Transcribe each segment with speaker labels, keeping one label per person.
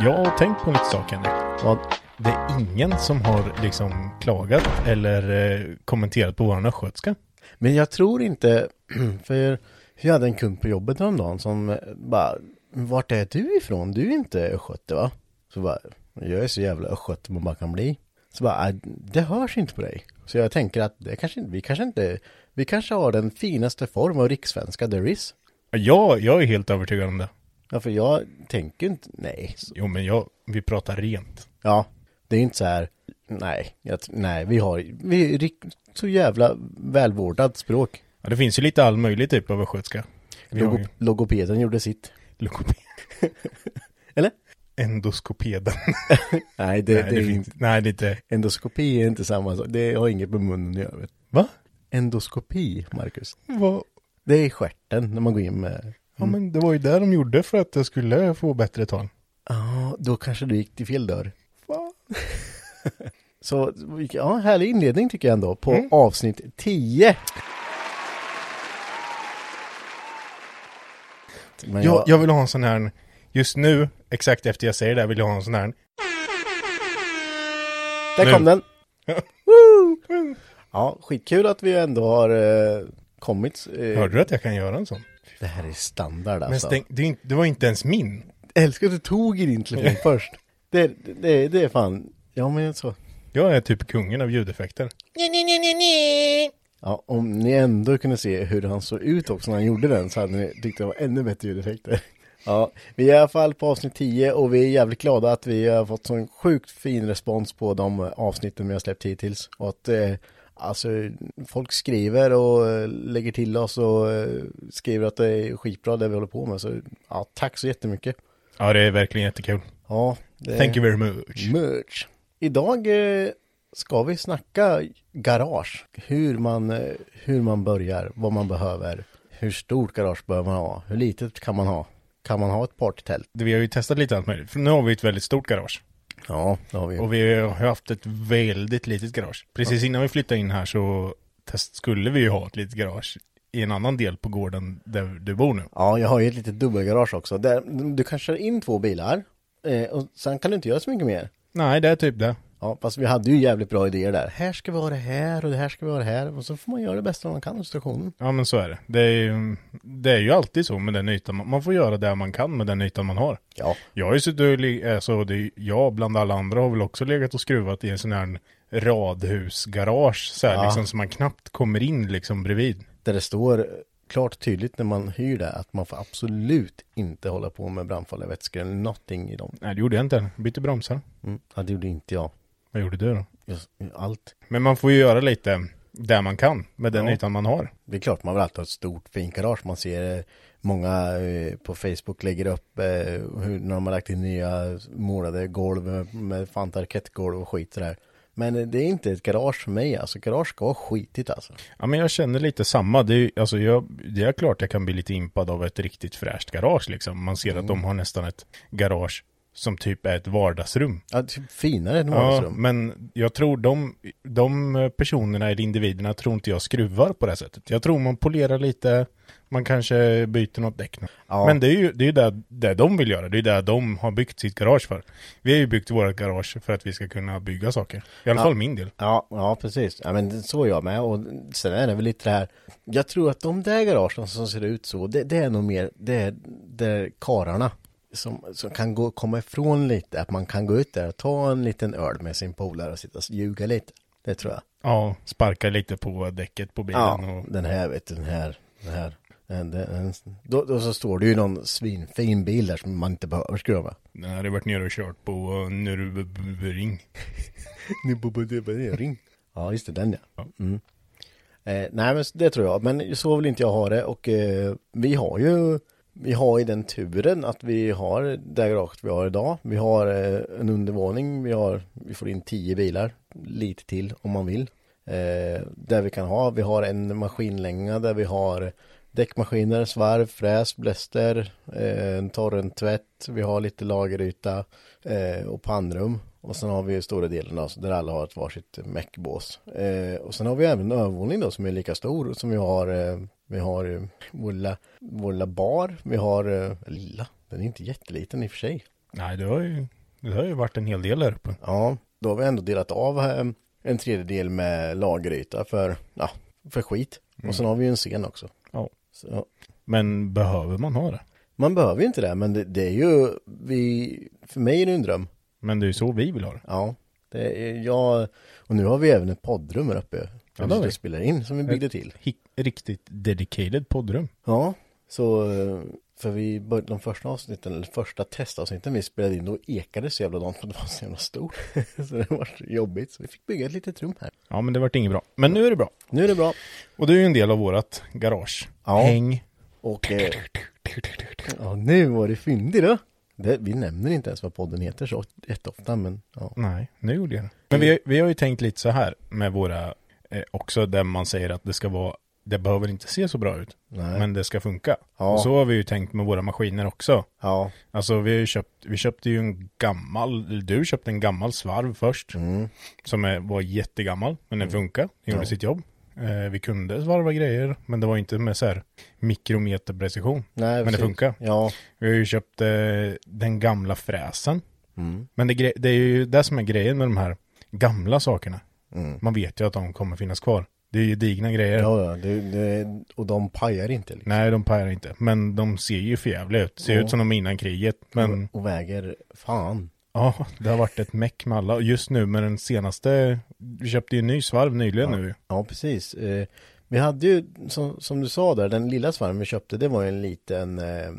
Speaker 1: Jag har tänkt på en liten sak Henrik. Och att Det är ingen som har liksom klagat eller eh, kommenterat på vår östgötska.
Speaker 2: Men jag tror inte, för jag hade en kund på jobbet häromdagen som eh, bara Vart är du ifrån? Du är inte östgöte va? Så bara, jag är så jävla östgöte man bara kan bli Så bara, "Äh, det hörs inte på dig Så jag tänker att det kanske, inte- vi kanske inte Vi kanske har den finaste form av rikssvenska there is
Speaker 1: Ja, jag är helt övertygad om det.
Speaker 2: Ja för jag tänker inte, nej
Speaker 1: Jo, men jag, vi pratar rent.
Speaker 2: Ja, det är inte så här, nej, jag, t- nej vi har, vi är rik- så jävla välvårdat språk
Speaker 1: Ja, det finns ju lite all möjlig typ av östgötska. Vi har ju
Speaker 2: Logo, Logopeden gjorde sitt
Speaker 1: logoped.
Speaker 2: Eller?
Speaker 1: Endoskopeden.
Speaker 2: Nej det,
Speaker 1: nej,
Speaker 2: det,
Speaker 1: det
Speaker 2: är
Speaker 1: finns-
Speaker 2: inte
Speaker 1: Nej, det är inte.
Speaker 2: Endoskopi är inte samma sak. Det har inget med munnen att göra. vet du.
Speaker 1: Va?
Speaker 2: Endoskopi, Marcus.
Speaker 1: Vad?
Speaker 2: Det är stjärten när man går in med...
Speaker 1: Ja,
Speaker 2: Mm.
Speaker 1: men det var ju det de gjorde för att jag skulle få bättre tal.
Speaker 2: Ja, då kanske du gick till fel dörr.
Speaker 1: Va?
Speaker 2: Så, ja, härlig inledning tycker jag ändå på avsnitt 10. Men
Speaker 1: Jag, jag vill ha en sån här, just nu, exakt efter jag säger det här, vill jag ha en sån här.
Speaker 2: där kom
Speaker 1: nu.
Speaker 2: den! Woo! Ja, skitkul att vi ändå har eh, kommit. Eh,
Speaker 1: Hörde du att jag kan göra en sån?
Speaker 2: det här är standard
Speaker 1: Men
Speaker 2: alltså.
Speaker 1: stäng, det, är inte- det var inte ens min.
Speaker 2: Älskar att du tog i din telefon först. Det, det, det är fan, ja men så.
Speaker 1: Jag är typ kungen av ljudeffekter.
Speaker 2: Ja, om ni ändå kunde se hur han såg ut också när han gjorde den så hade ni tyckt det var ännu bättre ljudeffekter. Ja, vi är i alla fall på avsnitt 10 och vi är jävligt glada att vi har fått sån sjukt fin respons på de avsnitten vi har släppt hittills. Och att eh, alltså, folk skriver och eh, lägger till oss och eh, skriver att det är skitbra det vi håller på med. Så ja, tack så jättemycket.
Speaker 1: Ja, det är verkligen jättekul.
Speaker 2: Ja, det...
Speaker 1: Thank you very much.
Speaker 2: Merch. Idag eh, ska vi snacka garage. Hur man, eh, hur man börjar, vad man behöver. Hur stort garage behöver man ha? Hur litet kan man ha? Kan man ha ett partytält?
Speaker 1: Vi har ju testat lite allt möjligt. För nu har vi ett väldigt stort garage.
Speaker 2: Ja, det har vi.
Speaker 1: Och vi har haft ett väldigt litet garage. Precis innan vi flyttade in här så test, skulle vi ju ha ett litet garage i en annan del på gården där du bor nu.
Speaker 2: Ja, jag har ju ett litet dubbelgarage också. Där, du kan köra in två bilar eh, och sen kan du inte göra så mycket mer.
Speaker 1: Nej, det är typ det.
Speaker 2: Ja, fast vi hade ju jävligt bra idéer där. Här ska vi ha det här och det här ska vi ha det här. Och så får man göra det bästa man kan av situationen.
Speaker 1: Ja, men så är det. Det är, ju- det är ju alltid så med den ytan. Man man får göra det man kan med den ytan man har.
Speaker 2: Ja.
Speaker 1: Jag har ju suttit och le- alltså, det är, jag bland alla andra har väl också legat och skruvat i en sån här radhusgarage så här
Speaker 2: Ja.
Speaker 1: liksom så man knappt kommer in liksom bredvid.
Speaker 2: Där det står klart och tydligt när man hyr det att man får absolut inte hålla på med brandfarliga vätskor eller någonting i dem.
Speaker 1: Nej, det gjorde jag inte. Bytte bromsar.
Speaker 2: Mm. Ja, det gjorde inte jag.
Speaker 1: Vad gjorde du då?
Speaker 2: jag. Allt.
Speaker 1: Men man får ju göra lite där man kan med den
Speaker 2: Ja.
Speaker 1: ytan man har.
Speaker 2: Det är klart man vill alltid ha ett stort fint garage. Man ser eh, många eh, på Facebook lägger upp eh, hur när de har lagt in nya målade golv med- med fan parkettgolv och skit sådär. Men eh, det är inte ett garage för mig alltså. Garage ska vara skitigt alltså.
Speaker 1: Ja, men jag känner lite samma. Det är, alltså, jag, det är klart jag kan bli lite impad av ett riktigt fräscht garage. Liksom. Man ser
Speaker 2: Mm.
Speaker 1: att de har nästan ett garage som typ är ett vardagsrum.
Speaker 2: Ja, typ finare än
Speaker 1: Ja,
Speaker 2: vardagsrum.
Speaker 1: men jag tror de, de personerna eller individerna tror inte jag skruvar på det här sättet. Jag tror man polerar lite, man kanske byter något däck.
Speaker 2: Ja.
Speaker 1: Men det är ju det, är ju det, det de vill göra, det är det de har byggt sitt garage för. Vi har ju byggt vårt garage för att vi ska kunna bygga saker. I alla fall min del.
Speaker 2: Ja, ja precis. Ja, men så är jag med. Och sen är det väl lite det här. Jag tror att de där garagen som ser ut så, det, det är nog mer, det är, det är kararna. Som, som kan gå, komma ifrån lite, att man kan gå ut där och ta en liten öl med sin polare och sitta och ljuga lite. Det tror jag.
Speaker 1: Ja, sparkar lite på däcket på bilen.
Speaker 2: Ja,
Speaker 1: Och,
Speaker 2: den här vet du, den här, den här. Den, den, den, då, då så står det ju någon svinfin bil där som man inte behöver skruva med.
Speaker 1: den hade varit nere och kört på eh, Nürburgring.
Speaker 2: Ni borde döpa ner ring. Ja, just det, den ja. Mm. Eh, nej, men det tror jag. Men så vill inte jag ha det. Och eh, vi har ju, vi har i den turen att vi har det garaget vi har idag. Vi har eh, en undervåning, vi har, vi får in tio bilar, lite till om man vill. Eh, där vi kan ha, vi har en maskinlänga där vi har däckmaskiner, svarv, fräs, bläster, eh, en torrentvätt, vi har lite lageryta eh, och pannrum. Och sen har vi ju stora delen då, där alla har ett varsitt meckbås. Eh, och sen har vi även en övervåning då som är lika stor och som vi har. Eh, vi har eh, vår lilla, vår lilla bar, vi har eh, lilla, den är inte jätteliten i och för sig.
Speaker 1: Nej, det har, ju, det har ju varit en hel del där uppe.
Speaker 2: Ja, då har vi ändå delat av eh, en tredjedel med lageryta för, ja, för skit. Och sen har vi ju en scen också.
Speaker 1: Ja.
Speaker 2: Så,
Speaker 1: Men behöver man ha det?
Speaker 2: man behöver ju inte det, men det, det är ju, vi, för mig är det ju en dröm.
Speaker 1: Men det är ju så vi vill ha det.
Speaker 2: Ja, det är jag, och nu har vi även ett poddrum här uppe.
Speaker 1: Ja,
Speaker 2: Ja,
Speaker 1: det har vi.
Speaker 2: vi spelar in som vi byggde till.
Speaker 1: Hick- riktigt dedicated poddrum.
Speaker 2: Ja, så eh, för vi började de första avsnitten, eller första testavsnitten vi spelade in, då ekade det så jävla dant för det var så jävla stort. så det var så jobbigt, så vi fick bygga ett litet rum här.
Speaker 1: Ja, men det vart inget bra. Men nu är det bra.
Speaker 2: Nu är det bra.
Speaker 1: Och det är ju en del av vårat garage.
Speaker 2: Ja.
Speaker 1: Häng.
Speaker 2: Och eh, ja, nu var det fyndig då. Det, vi nämner inte ens vad podden heter så jätteofta, men ja.
Speaker 1: Nej, nu gjorde jag det. Men vi, har- vi har ju tänkt lite så här med våra, eh, också där man säger att det ska vara, det behöver inte se så bra ut, men det ska funka.
Speaker 2: Ja.
Speaker 1: Och så har vi ju tänkt med våra maskiner också.
Speaker 2: Ja,
Speaker 1: Alltså vi har ju köpt, vi köpte ju en gammal, du köpte en gammal svarv först. Som är, var jättegammal, men den funkar, den gjorde sitt jobb. Eh, vi kunde svarva grejer, men det var inte med så här mikrometerprecision.
Speaker 2: nej,
Speaker 1: men
Speaker 2: precis.
Speaker 1: det funkar.
Speaker 2: Ja,
Speaker 1: Vi har ju köpt eh, den gamla fräsen.
Speaker 2: Mm.
Speaker 1: Men det, gre- det är ju det som är grejen med de här gamla sakerna. Man vet ju att de kommer finnas kvar. Det är ju digna grejer.
Speaker 2: Mm. ja, ja det, det, och de pajar inte. Liksom.
Speaker 1: Nej, de pajar inte. Men de ser ju förjävliga ut. Ser ut som de innan kriget. Men
Speaker 2: Och väger fan.
Speaker 1: ja, det har varit ett meck med alla. Och just nu med den senaste, vi köpte ju en ny svarv nyligen nu.
Speaker 2: Ja, precis. Eh, Vi hade ju, som, som du sa där, den lilla svarven vi köpte, det var ju en liten, eh,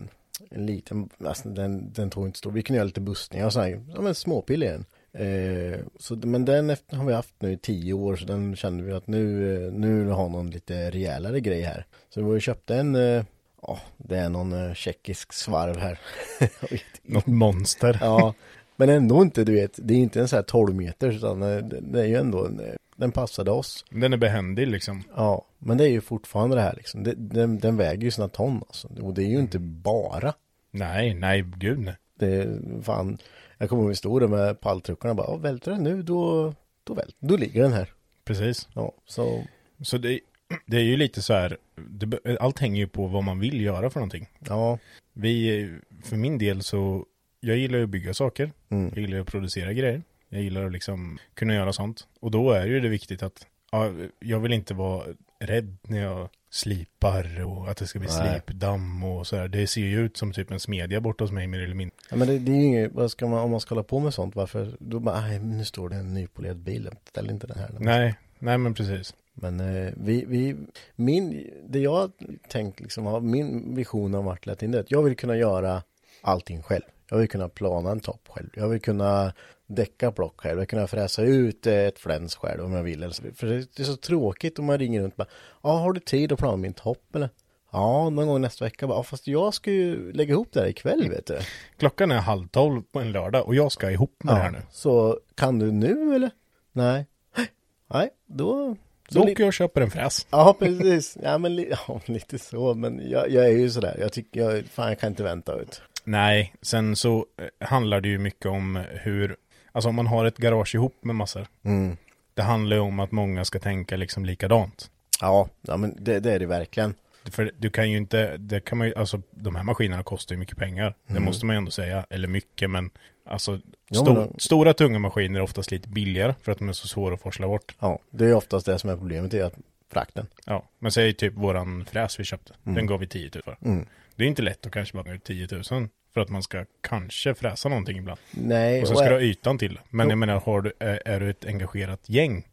Speaker 2: en liten, alltså den, den tog inte stor, vi kunde göra lite bussningar och så här, ja men småpill i den. Eh, så, men den efter, har vi haft nu i tio år, så den kände vi att nu, eh, nu vill vi ha någon lite rejälare grej här. Så vi var ju köpte en, eh, ja, det är någon eh, tjeckisk svarv här. Jag vet
Speaker 1: Något monster.
Speaker 2: Ja, men ändå inte, du vet, det är inte en så här 12 meter utan eh, det det är ju ändå, en, eh, den passade oss.
Speaker 1: Den är behändig liksom.
Speaker 2: Ja, men det är ju fortfarande det här liksom, det, den, den väger ju sina ton alltså. Och det är ju inte bara,
Speaker 1: Nej, nej, gud nej.
Speaker 2: det är fan, jag kommer ihåg vi stod där med palltruckarna och bara, "Ja, välter den nu då, då vält, då ligger den här.
Speaker 1: Precis.
Speaker 2: Ja, så,
Speaker 1: Så det, det är ju lite så här, det, be- allt hänger ju på vad man vill göra för någonting.
Speaker 2: ja,
Speaker 1: Vi, för min del så, jag gillar ju att bygga saker.
Speaker 2: Mm.
Speaker 1: Jag gillar att producera grejer. Jag gillar att liksom kunna göra sånt. Och då är ju det viktigt att, ja, jag vill inte vara rädd när jag slipar och att det ska bli
Speaker 2: Nej.
Speaker 1: slipdamm och sådär. Det ser ju ut som typ en smedja borta hos mig mer eller mindre.
Speaker 2: ja men det, det är ju inget, vad ska man, om man ska hålla på med sånt, varför, då bara, nej, nu står det en nypolerad bil, ställ inte den här.
Speaker 1: Nej, nej men precis.
Speaker 2: Men eh, vi, vi, min, det jag har tänkt liksom, har- min vision har varit lätt in det, att jag vill kunna göra allting själv. Jag vill kunna plana en topp själv. Jag vill kunna däcka plock själv. Jag vill kunna fräsa ut eh, ett fläns själv om jag vill. Eller så- För det det är så tråkigt om man ringer runt och bara, ja, har du tid att plana min topp eller? Ja, någon gång nästa vecka bara, ja, fast jag ska ju lägga ihop det här ikväll vet du.
Speaker 1: Klockan är halv tolv på en lördag och jag ska ihop med det här nu.
Speaker 2: Så kan du nu eller? Nej. Nej, då...
Speaker 1: Då
Speaker 2: så li-
Speaker 1: åker jag och köper en fräs.
Speaker 2: Ja, precis. Ja, men li- ja, lite så. Men jag, jag är ju sådär. Jag tycker, jag, fan jag kan inte vänta ut.
Speaker 1: Nej, sen så eh, handlar det ju mycket om hur, alltså om man har ett garage ihop med massor.
Speaker 2: Mm.
Speaker 1: Det handlar ju om att många ska tänka liksom likadant.
Speaker 2: Ja, ja men det, det är det verkligen.
Speaker 1: För du kan ju inte, det kan man ju, alltså de här maskinerna kostar ju mycket pengar. Det måste man ju ändå säga, eller mycket men alltså
Speaker 2: Mm. Ja,
Speaker 1: sto-
Speaker 2: men-
Speaker 1: stora tunga maskiner är oftast lite billigare för att de är så svåra att forsla bort.
Speaker 2: Ja, det är oftast det som är problemet är att frakten.
Speaker 1: Ja, men säg typ våran fräs vi köpte,
Speaker 2: Mm.
Speaker 1: den gav vi 10 000 för. Det är inte lätt att kanske bara ut 10 000 för att man ska kanske fräsa någonting ibland.
Speaker 2: Nej,
Speaker 1: Och sen
Speaker 2: och
Speaker 1: ska du
Speaker 2: ä-
Speaker 1: ha ytan till. Men jag menar, har du, är, är du ett engagerat gäng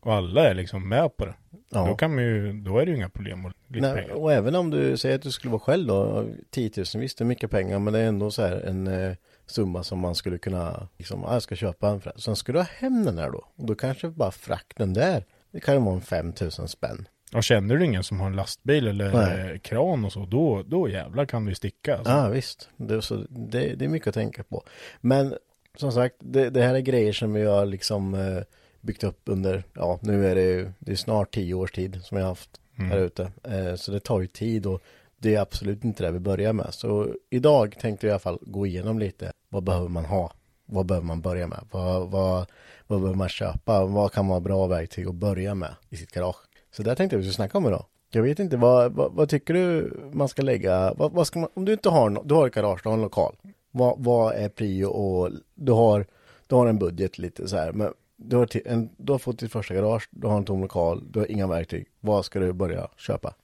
Speaker 1: och alla är liksom med på det,
Speaker 2: Mm. Ja.
Speaker 1: då, kan man ju, då är det ju inga problem och lite
Speaker 2: Nej,
Speaker 1: pengar.
Speaker 2: och även om du säger att du skulle vara själv då, 10 000, visst det är mycket pengar, men det är ändå så här en eh, summa som man skulle kunna, liksom, ah, jag ska köpa en fräs. Sen ska du ha hem den här då, och då kanske bara frakten där, det kan ju vara en 5 000 spänn.
Speaker 1: Och känner du ingen som har en lastbil eller
Speaker 2: Nej.
Speaker 1: eh, kran och så, då, då jävlar kan du ju sticka. Alltså.
Speaker 2: Ja, ah, visst. Det, är så, det, det är mycket att tänka på. Men som sagt, det, det här är grejer som vi har liksom eh, byggt upp under, ja, nu är det ju, det är snart tio års tid som jag har haft här ute. Eh, så det tar ju tid och det är absolut inte det vi börjar med. Så idag tänkte jag i alla fall gå igenom lite, vad behöver man ha? Vad behöver man börja med? Vad, vad, vad behöver man köpa? Vad kan vara bra verktyg att börja med i sitt garage? Så där tänkte jag vi skulle snacka om idag. Jag vet inte, vad, vad, vad tycker du man ska lägga, vad, vad ska man, om du inte har, nå- du har ett garage, du har en lokal, vad, vad är prio och du har, du har en budget lite så här, men du har, ti- en, du har fått ditt första garage, du har en tom lokal, du har inga verktyg, vad ska du börja köpa?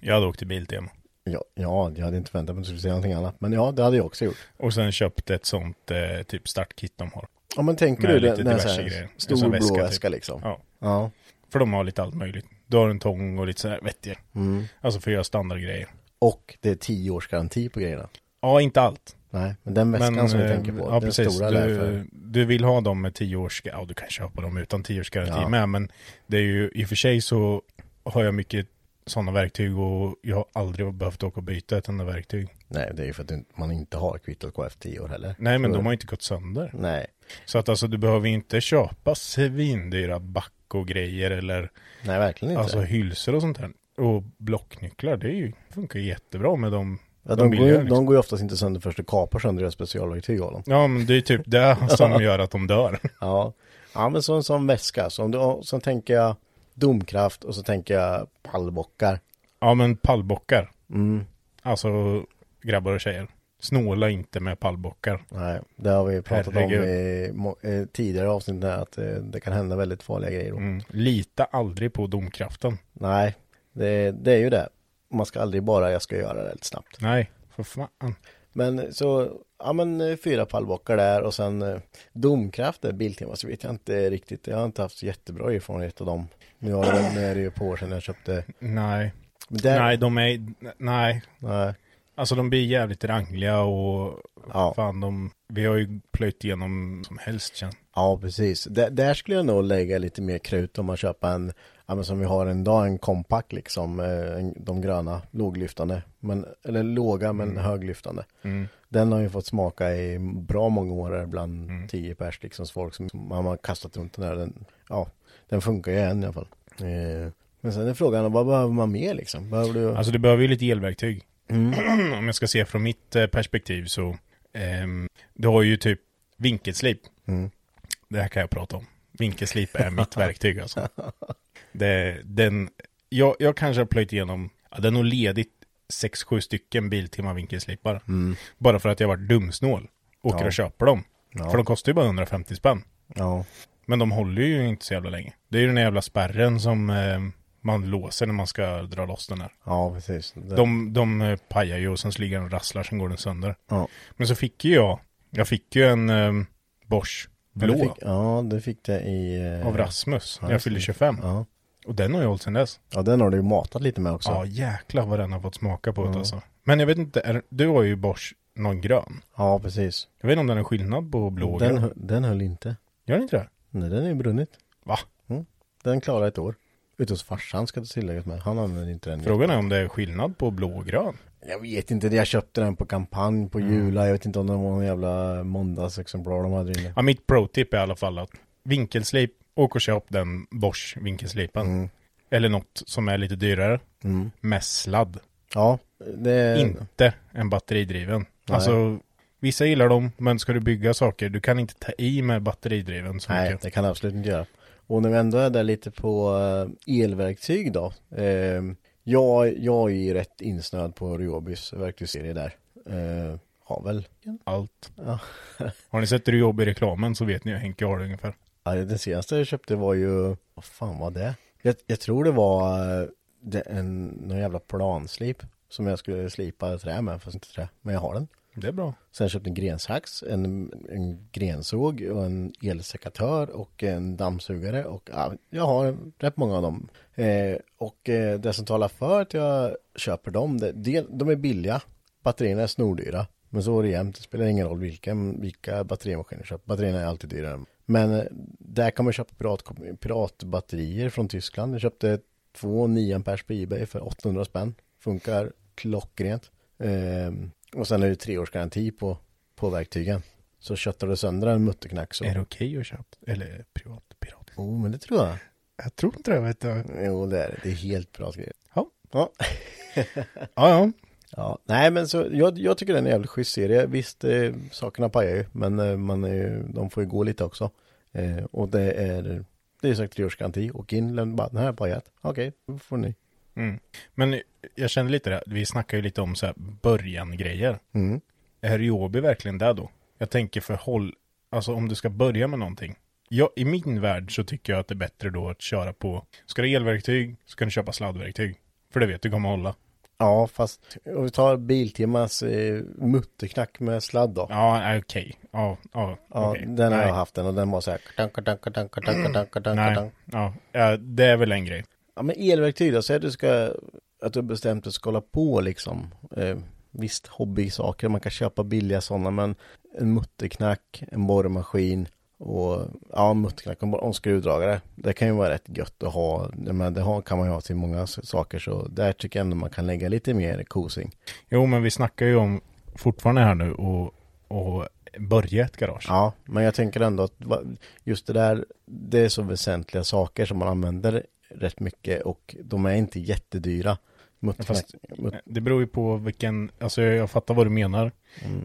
Speaker 1: Jag hade åkt till Biltema.
Speaker 2: Ja, ja jag hade inte väntat mig att du skulle säga någonting annat, men ja, det hade jag också gjort.
Speaker 1: Och sen köpte ett sånt eh, typ startkit de har.
Speaker 2: Ja, men tänker
Speaker 1: Med
Speaker 2: du den,
Speaker 1: lite
Speaker 2: den här,
Speaker 1: diverse
Speaker 2: så här
Speaker 1: grejer. En
Speaker 2: stor
Speaker 1: sån
Speaker 2: blå
Speaker 1: väska
Speaker 2: väska,
Speaker 1: typ.
Speaker 2: liksom?
Speaker 1: Ja.
Speaker 2: ja.
Speaker 1: För de har lite allt möjligt. Du har en tång och lite sådär vettiga.
Speaker 2: Mm.
Speaker 1: Alltså för att göra standardgrejer.
Speaker 2: Och det är tio års garanti på grejerna.
Speaker 1: Ja, inte allt.
Speaker 2: Nej, men den väskan som vi
Speaker 1: eh,
Speaker 2: tänker på,
Speaker 1: ja,
Speaker 2: den
Speaker 1: precis.
Speaker 2: stora där för...
Speaker 1: du, du vill ha dem med 10 års, ja du kan köpa dem utan 10 års garanti
Speaker 2: Ja.
Speaker 1: med, men det är ju, i och för sig så har jag mycket sådana verktyg och jag har aldrig behövt åka och byta ett enda verktyg.
Speaker 2: Nej, det är ju för att du- man inte har kvittot kvar efter tio år heller.
Speaker 1: Nej, men
Speaker 2: Så-
Speaker 1: de har inte gått sönder.
Speaker 2: Nej,
Speaker 1: Så att alltså du behöver inte köpa svindyra back och grejer eller
Speaker 2: nej verkligen inte.
Speaker 1: alltså hylsor och sånt där. Och blocknycklar, det är ju, funkar jättebra med de, liksom.
Speaker 2: ja, de, går,
Speaker 1: billigare,
Speaker 2: ju- de går ju oftast inte sönder först du kapar sönder deras specialverktyg av dem.
Speaker 1: Ja, men det är typ det som gör att de dör.
Speaker 2: Ja, ja men så en sån väska. Så, om du, och så tänker jag domkraft och så tänker jag pallbockar.
Speaker 1: Ja, men pallbockar.
Speaker 2: Mm.
Speaker 1: Alltså, grabbar och tjejer. Snåla inte med pallbockar.
Speaker 2: Nej, det har vi pratat om
Speaker 1: Herregud.
Speaker 2: i må- eh, tidigare avsnitt där att eh, det kan hända väldigt farliga grejer. då.
Speaker 1: Mm. Lita aldrig på domkraften.
Speaker 2: Nej, det, det är ju det. Man ska aldrig bara, jag ska göra det väldigt snabbt.
Speaker 1: Nej, för fan.
Speaker 2: Men så, ja men eh, fyra pallbockar där och sen eh, domkraft där Biltema så vet jag inte riktigt. Jag har inte haft så jättebra erfarenhet av dem. Nu, har det, väl- nu är det ju på år sedan jag köpte.
Speaker 1: Nej.
Speaker 2: Men där-
Speaker 1: Nej, de är... Nej.
Speaker 2: Nej.
Speaker 1: Alltså de blir jävligt rangliga och...
Speaker 2: Ja.
Speaker 1: Fan, de... Vi har ju plöjt igenom som helst känns
Speaker 2: Ja, precis. Där, där skulle jag nog lägga lite mer krut om man köper en, ja men som vi har en dag, en kompack liksom, eh, en- de gröna, låglyftande, men, eller låga men
Speaker 1: Mm.
Speaker 2: höglyftande. Den har ju fått smaka i bra många år här bland
Speaker 1: Mm.
Speaker 2: tio pers liksom, så folk som man har kastat runt den där. Den, ja, den funkar ju än i alla fall. Eh, men sen är frågan, vad behöver man mer liksom? Behöver du?
Speaker 1: Alltså du behöver ju lite elverktyg. Om jag ska se från mitt eh, perspektiv så ehm, du har ju typ vinkelslip. Det här kan jag prata om. Vinkelslip är mitt verktyg alltså. Det, den, jag, jag kanske har plöjt igenom, ja, den har nog ledigt 6-7 stycken Biltema vinkelslipar. Bara för att jag varit dumsnål. Åker och köper dem. För de kostar ju bara 150 spänn.
Speaker 2: ja,
Speaker 1: Men de håller ju inte så jävla länge. Det är ju den här jävla spärren som eh, man låser när man ska dra loss den här.
Speaker 2: ja, precis. Det-
Speaker 1: De, de eh, pajar ju och sen så ligger den och rasslar, sen går den sönder.
Speaker 2: Ja.
Speaker 1: Men så fick ju jag, jag fick ju en um, Bosch
Speaker 2: Men
Speaker 1: blå
Speaker 2: du Fick, ja, du fick det i... eh,
Speaker 1: av Rasmus när jag
Speaker 2: just
Speaker 1: fyllde
Speaker 2: det.
Speaker 1: 25.
Speaker 2: Ja.
Speaker 1: Och den har jag hållit sedan dess.
Speaker 2: ja, den har du ju matat lite med också.
Speaker 1: Ja jäklar vad den har fått smaka på det alltså. Men jag vet inte, är, du har ju Bosch någon grön.
Speaker 2: ja precis.
Speaker 1: Jag vet inte om den är skillnad på blå och
Speaker 2: Den,
Speaker 1: grön.
Speaker 2: hö- den höll inte.
Speaker 1: Gör den inte det?
Speaker 2: Nej, den är ju brunnit. Mm.
Speaker 1: Va?
Speaker 2: Den klarade ett år. Ute hos farsan ska det tilläggas med. Han använder inte den.
Speaker 1: Frågan är om det är skillnad på blå och grön.
Speaker 2: Jag vet inte, jag köpte den på kampanj på
Speaker 1: Mm.
Speaker 2: Jula. Jag vet inte om det var någon jävla måndagsexemplar de hade inne.
Speaker 1: Ja, mitt pro-tip är i alla fall att vinkelslip, okej åk och köp den Bosch vinkelslipen.
Speaker 2: Mm.
Speaker 1: Eller något som är lite dyrare. Med sladd.
Speaker 2: Ja, det...
Speaker 1: Inte en batteridriven. Alltså, vissa gillar dem, men ska du bygga saker, du kan inte ta i med batteridriven så
Speaker 2: Nej,
Speaker 1: mycket.
Speaker 2: det kan jag absolut inte göra. Och när vi ändå är där lite på eh, elverktyg då. Eh, jag, jag är ju rätt insnöad på Ryobis verktygsserie där. Eh, har väl.
Speaker 1: Allt.
Speaker 2: Ja.
Speaker 1: Har ni sett hur jobb i reklamen så vet ni hur Henke har det ungefär.
Speaker 2: Ja, den senaste jag köpte var ju, vad fan var det? Jag, jag tror det var eh, det, en, någon jävla planslip som jag skulle slipa trä med, fast inte trä, men jag har den.
Speaker 1: Det är bra.
Speaker 2: Sen köpte jag en grensax, en, en grensåg och en elsekatör och en dammsugare och ja, jag har rätt många av dem. Eh, och eh, det som talar för att jag köper dem, det, det, de är billiga, batterierna är snordyra. Men så är det jämt, det spelar ingen roll vilka, vilka batterimaskiner jag köper, batterierna är alltid dyrare. Men eh, där kan man köpa pirat, piratbatterier från Tyskland. Jag köpte två 9 ampers på Ebay för 800 spänn. Funkar klockrent. Ehm, och sen är det treårsgaranti på, på verktygen. Så köttar du sönder en mutterknack så...
Speaker 1: Är det okej att köpa? Eller privat pirat?
Speaker 2: Jo, men det tror jag.
Speaker 1: Jag tror inte det, vet du.
Speaker 2: Jo, det är det. Det är helt bra grejer.
Speaker 1: Ja,
Speaker 2: Ja.
Speaker 1: ja. ja.
Speaker 2: ja. Nej, men så jag, jag tycker den är en jävligt schysst serie. Visst, eh, sakerna pajar ju, men eh, man är, ju- de får ju gå lite också. Eh, och det är, det är sagt treårsgaranti. Och in, lämna bara, den här har pajat. Okej, då får ni.
Speaker 1: Men jag känner lite det, vi snackar ju lite om så här början-grejer.
Speaker 2: Mm.
Speaker 1: Är Ryobi verkligen där då? Jag tänker för håll, alltså om du ska börja med någonting. Ja, I min värld så tycker jag att det är bättre då att köra på, ska du ha elverktyg så kan du köpa sladdverktyg. För det vet du kommer hålla.
Speaker 2: Ja, fast om vi tar Biltemas eh, mutterknack med sladd då.
Speaker 1: Ja, nej, okej. Ja, ja,
Speaker 2: Ja,
Speaker 1: okej.
Speaker 2: den har
Speaker 1: Nej,
Speaker 2: jag haft den och den var så här. Tanka, tanka, tanka, tanka, tanka, tanka,
Speaker 1: Nej,
Speaker 2: tanka.
Speaker 1: ja, ja, det är väl en grej.
Speaker 2: Ja, men elverktyg då, säg att du ska, att du har bestämt att du ska hålla på liksom. Eh, visst, hobbysaker, man kan köpa billiga sådana, men en mutterknack, en borrmaskin och, ja, en mutterknack och en, bor- och en skruvdragare. Det kan ju vara rätt gött att ha, men det har, kan man ju ha till många s- saker, så där tycker jag ändå man kan lägga lite mer kosing.
Speaker 1: Jo, men vi snackar ju om fortfarande här nu och, och börja ett garage.
Speaker 2: Ja, men jag tänker ändå att va- just det där, det är så väsentliga saker som man använder rätt mycket och de är inte jättedyra. Mut,
Speaker 1: Fast-
Speaker 2: mut,
Speaker 1: Eh, Det beror ju på vilken, alltså jag, jag fattar vad du menar.
Speaker 2: Mm.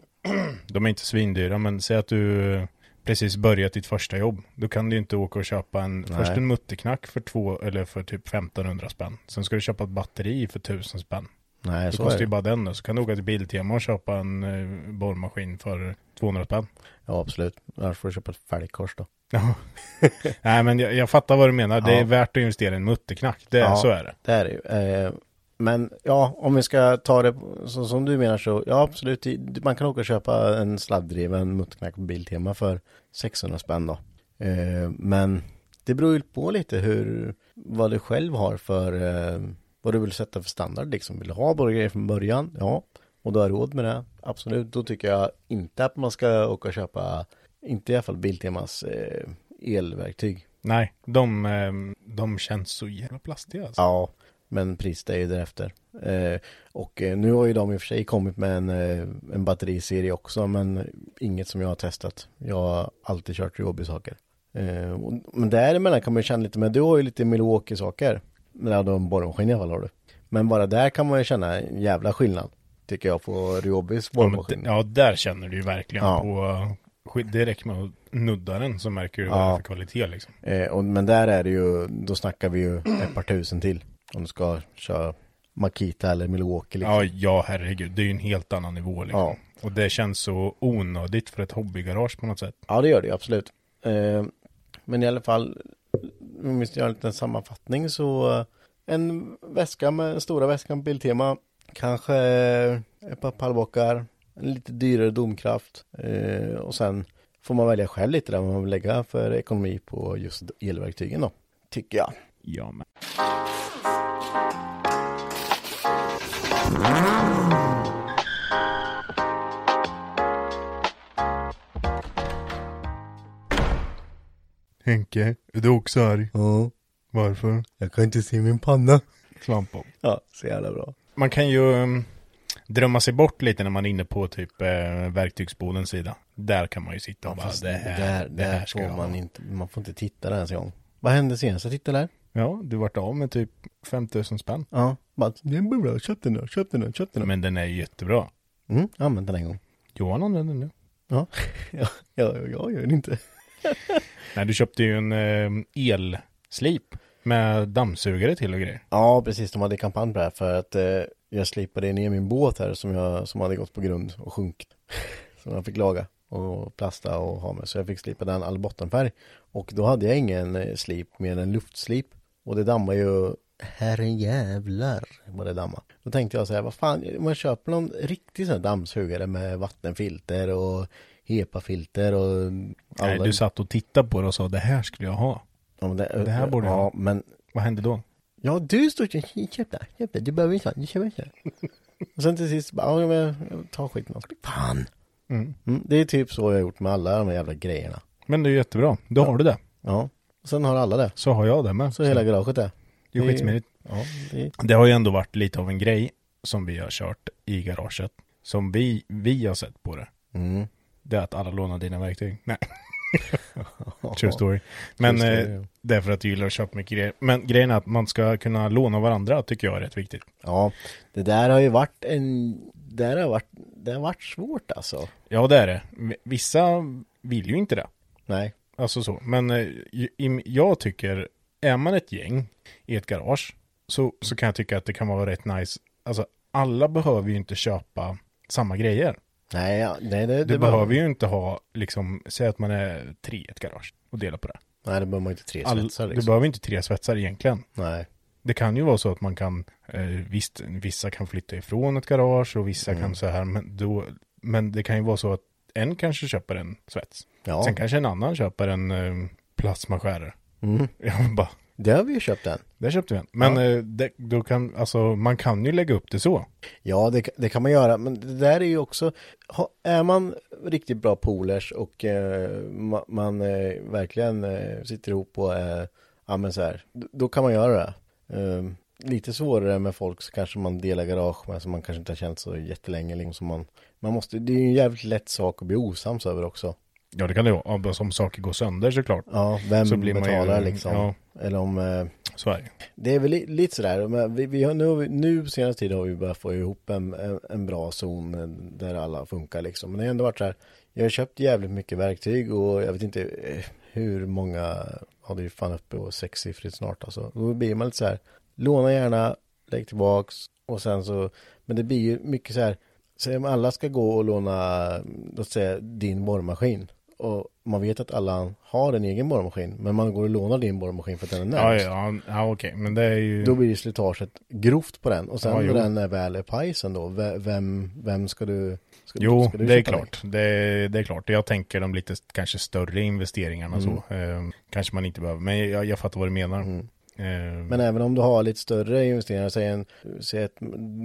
Speaker 1: De är inte svindyra, men säg att du precis börjat ditt första jobb. Då kan du ju inte åka och köpa en, först en mutterknack för två, eller för typ 1500 spänn. Sen ska du köpa ett batteri för 1000 spänn.
Speaker 2: nej,
Speaker 1: Det
Speaker 2: så är
Speaker 1: kostar ju
Speaker 2: det.
Speaker 1: bara den då. Så kan du åka till Biltema och köpa en eh, borrmaskin för 200 spänn.
Speaker 2: Ja, absolut. Annars får du köpa ett fälgkors då.
Speaker 1: Ja. Nej, men jag, jag fattar vad du menar. Det
Speaker 2: Ja.
Speaker 1: är värt att investera i en mutterknack. Det,
Speaker 2: Ja.
Speaker 1: Så är det.
Speaker 2: Det är det ju. Eh, men ja, om vi ska ta det så, som du menar så, ja absolut, det- man kan åka och köpa en sladdriven mutterknack på Biltema för 600 spänn då. Eh, men det beror ju på lite hur, vad du själv har för, eh, vad du vill sätta för standard liksom. Vill du ha bara grejer från början? Ja. Och du har råd med det? Absolut, då tycker jag inte att man ska åka och köpa, inte i alla fall Biltemas eh, elverktyg.
Speaker 1: Nej, de, ehm, de känns så jävla plastiga. Alltså.
Speaker 2: Ja, men priset är ju därefter. Eh, och eh, nu har ju de i och för sig kommit med en, eh, en batteriserie också, men inget som jag har testat. Jag har alltid kört Ryobi-saker. Eh, och, men däremellan kan man ju känna lite, men du har ju lite Milwaukee-saker. Men ja, du har en borrmaskin i alla fall har du. Men bara där kan man ju känna en jävla skillnad, tycker jag, på Ryobis
Speaker 1: Ja, men d-
Speaker 2: borrmaskin.
Speaker 1: ja, där känner du ju verkligen
Speaker 2: Ja.
Speaker 1: på skit. Det räcker med att nudda den så märker du vad det är för kvalitet liksom.
Speaker 2: Eh, och, men där är det ju, då snackar vi ju ett par tusen till. Om du ska köra Makita eller Milwaukee liksom.
Speaker 1: Ja, ja, herregud. Det är ju en helt annan nivå liksom.
Speaker 2: Ja.
Speaker 1: Och det känns så onödigt för ett hobbygarage på något sätt.
Speaker 2: Ja, det gör det ju, absolut. Eh, men i alla fall, om vi ska göra en liten sammanfattning så eh, en väska med stora väskan på Biltema, kanske eh, ett par pallbockar, en lite dyrare domkraft eh, och sen får man välja själv lite där vad man vill lägga för ekonomi på just elverktygen då, tycker jag.
Speaker 1: Ja, men. Henke, är du också arg?
Speaker 2: Ja,
Speaker 1: Varför?
Speaker 2: jag kan inte se min panna.
Speaker 1: Svamp om.
Speaker 2: Ja, så jävla bra.
Speaker 1: Man kan ju um, drömma sig bort lite när man är inne på typ eh, verktygsbodens sida. Där kan man ju sitta och bara,
Speaker 2: Fast
Speaker 1: det här,
Speaker 2: där,
Speaker 1: det
Speaker 2: där
Speaker 1: här ska
Speaker 2: får
Speaker 1: jag
Speaker 2: man
Speaker 1: ha.
Speaker 2: inte, man får inte titta där ens en gång. Vad hände senast jag tittade där?
Speaker 1: Ja, du vart av med typ 5000 spänn.
Speaker 2: Ja. Bara, det är bra, köp den då, köp den då, köp den då.
Speaker 1: Men den är ju jättebra.
Speaker 2: Mm, använd den en gång.
Speaker 1: Johan använder den nu.
Speaker 2: Ja, ja, ja, jag gör det inte.
Speaker 1: Nej, du köpte ju en eh, elslip med dammsugare till och grejer.
Speaker 2: Ja, precis. De hade kampanj på det här för att eh, jag slipade ner min båt här som, jag, som hade gått på grund och sjunkit. som jag fick laga och plasta och ha med. Så jag fick slipa den all bottenfärg. Och då hade jag ingen eh, slip mer än luftslip. Och det dammar ju herrejävlar vad det dammar. Då tänkte jag så här, vad fan, om man köper någon riktig sån här dammsugare med vattenfilter och HEPA-filter och
Speaker 1: Nej, du satt och tittade på det och sa det här skulle jag ha.
Speaker 2: ja, men det,
Speaker 1: det här borde jag
Speaker 2: Ja,
Speaker 1: ha.
Speaker 2: men
Speaker 1: Vad hände då?
Speaker 2: Ja, du står och köp det, här, köp det, du behöver inte ha, du köper inte. Och sen till sist, bara, ja, men jag tar skiten av Fan! Mm, det är typ så jag har gjort med alla de här jävla grejerna.
Speaker 1: Men det är ju jättebra. Då har du det.
Speaker 2: Ja, och sen har alla det.
Speaker 1: Så har jag det med.
Speaker 2: Så hela garaget det.
Speaker 1: det är ju skitsmidigt.
Speaker 2: Ja, det,
Speaker 1: Det har ju ändå varit lite av en grej som vi har kört i garaget. Som vi, vi har sett på det.
Speaker 2: mm.
Speaker 1: Det är att alla lånar dina verktyg. Nej. True story. Men
Speaker 2: True story,
Speaker 1: eh,
Speaker 2: ja.
Speaker 1: därför att du gillar att köpa mycket grejer. Men grejen är att man ska kunna låna varandra tycker jag är rätt viktigt.
Speaker 2: ja, det där har ju varit en, det där har varit, det har varit svårt alltså.
Speaker 1: Ja det är det. V- Vissa vill ju inte det.
Speaker 2: Nej,
Speaker 1: Alltså så. Men eh, ju- im- jag tycker, är man ett gäng i ett garage så, så kan jag tycka att det kan vara rätt nice. Alltså alla behöver ju inte köpa samma grejer.
Speaker 2: nej, ja, nej det,
Speaker 1: Du behöver ju inte ha, liksom, säg att man är tre i ett garage och delar på det.
Speaker 2: Nej, det behöver man ju inte tre
Speaker 1: All,
Speaker 2: svetsar
Speaker 1: Du
Speaker 2: liksom.
Speaker 1: behöver inte tre svetsare egentligen.
Speaker 2: Nej,
Speaker 1: Det kan ju vara så att man kan, eh, visst, vissa kan flytta ifrån ett garage och vissa
Speaker 2: Mm.
Speaker 1: kan så här, men, då, men det kan ju vara så att en kanske köper en svets.
Speaker 2: Ja.
Speaker 1: Sen kanske en annan köper en eh, plasmaskärare.
Speaker 2: Mm.
Speaker 1: Jag bara,
Speaker 2: det har vi ju köpt än.
Speaker 1: där köpte vi en. Men eh, det, då kan, alltså, man kan ju lägga upp det så.
Speaker 2: Ja, det, det kan man göra, men det där är ju också, ha, är man riktigt bra polers och eh, ma, man eh, verkligen eh, sitter ihop och, eh, ja men så här, d- då kan man göra det. Eh, lite svårare med folk så kanske man delar garage med som man kanske inte har känt så jättelänge. Liksom, som man, man måste, det är ju en jävligt lätt sak att bli osams över också.
Speaker 1: Ja, det kan det ju vara. Alltså, om saker går sönder såklart.
Speaker 2: Ja, vem
Speaker 1: Så blir man ju-
Speaker 2: betalar liksom?
Speaker 1: ja.
Speaker 2: Eller om... Eh,
Speaker 1: Så är det.
Speaker 2: det är väl li- lite sådär, men vi, vi har, nu, har vi- nu senaste tiden har vi börjat få ihop en, en, en bra zon eh, där alla funkar liksom. Men det har ändå varit så här, jag har köpt jävligt mycket verktyg och jag vet inte eh, hur många, ja det är ju fan uppe på sexsiffrigt snart alltså. Då blir man lite så här, låna gärna, lägg tillbaks och sen så, men det blir ju mycket så här, säg om alla ska gå och låna, låt säga din borrmaskin. Och man vet att alla har en egen borrmaskin, men man går och lånar din borrmaskin för att den är
Speaker 1: Ja,
Speaker 2: närmst.
Speaker 1: ja, ja okej. Men det är ju...
Speaker 2: Då blir ju slitaget grovt på den och sen
Speaker 1: Ja,
Speaker 2: när
Speaker 1: jo.
Speaker 2: den är väl är pajsen då, ve- vem, vem ska du? Ska,
Speaker 1: Jo,
Speaker 2: ska du
Speaker 1: det är
Speaker 2: köpa den?
Speaker 1: klart. Det, är- det är klart. Jag tänker de lite kanske större investeringarna
Speaker 2: Mm.
Speaker 1: så. Ehm, kanske man inte behöver, men jag, jag fattar vad du menar. Ehm,
Speaker 2: Men även om du har lite större investeringar, säg, en, säg att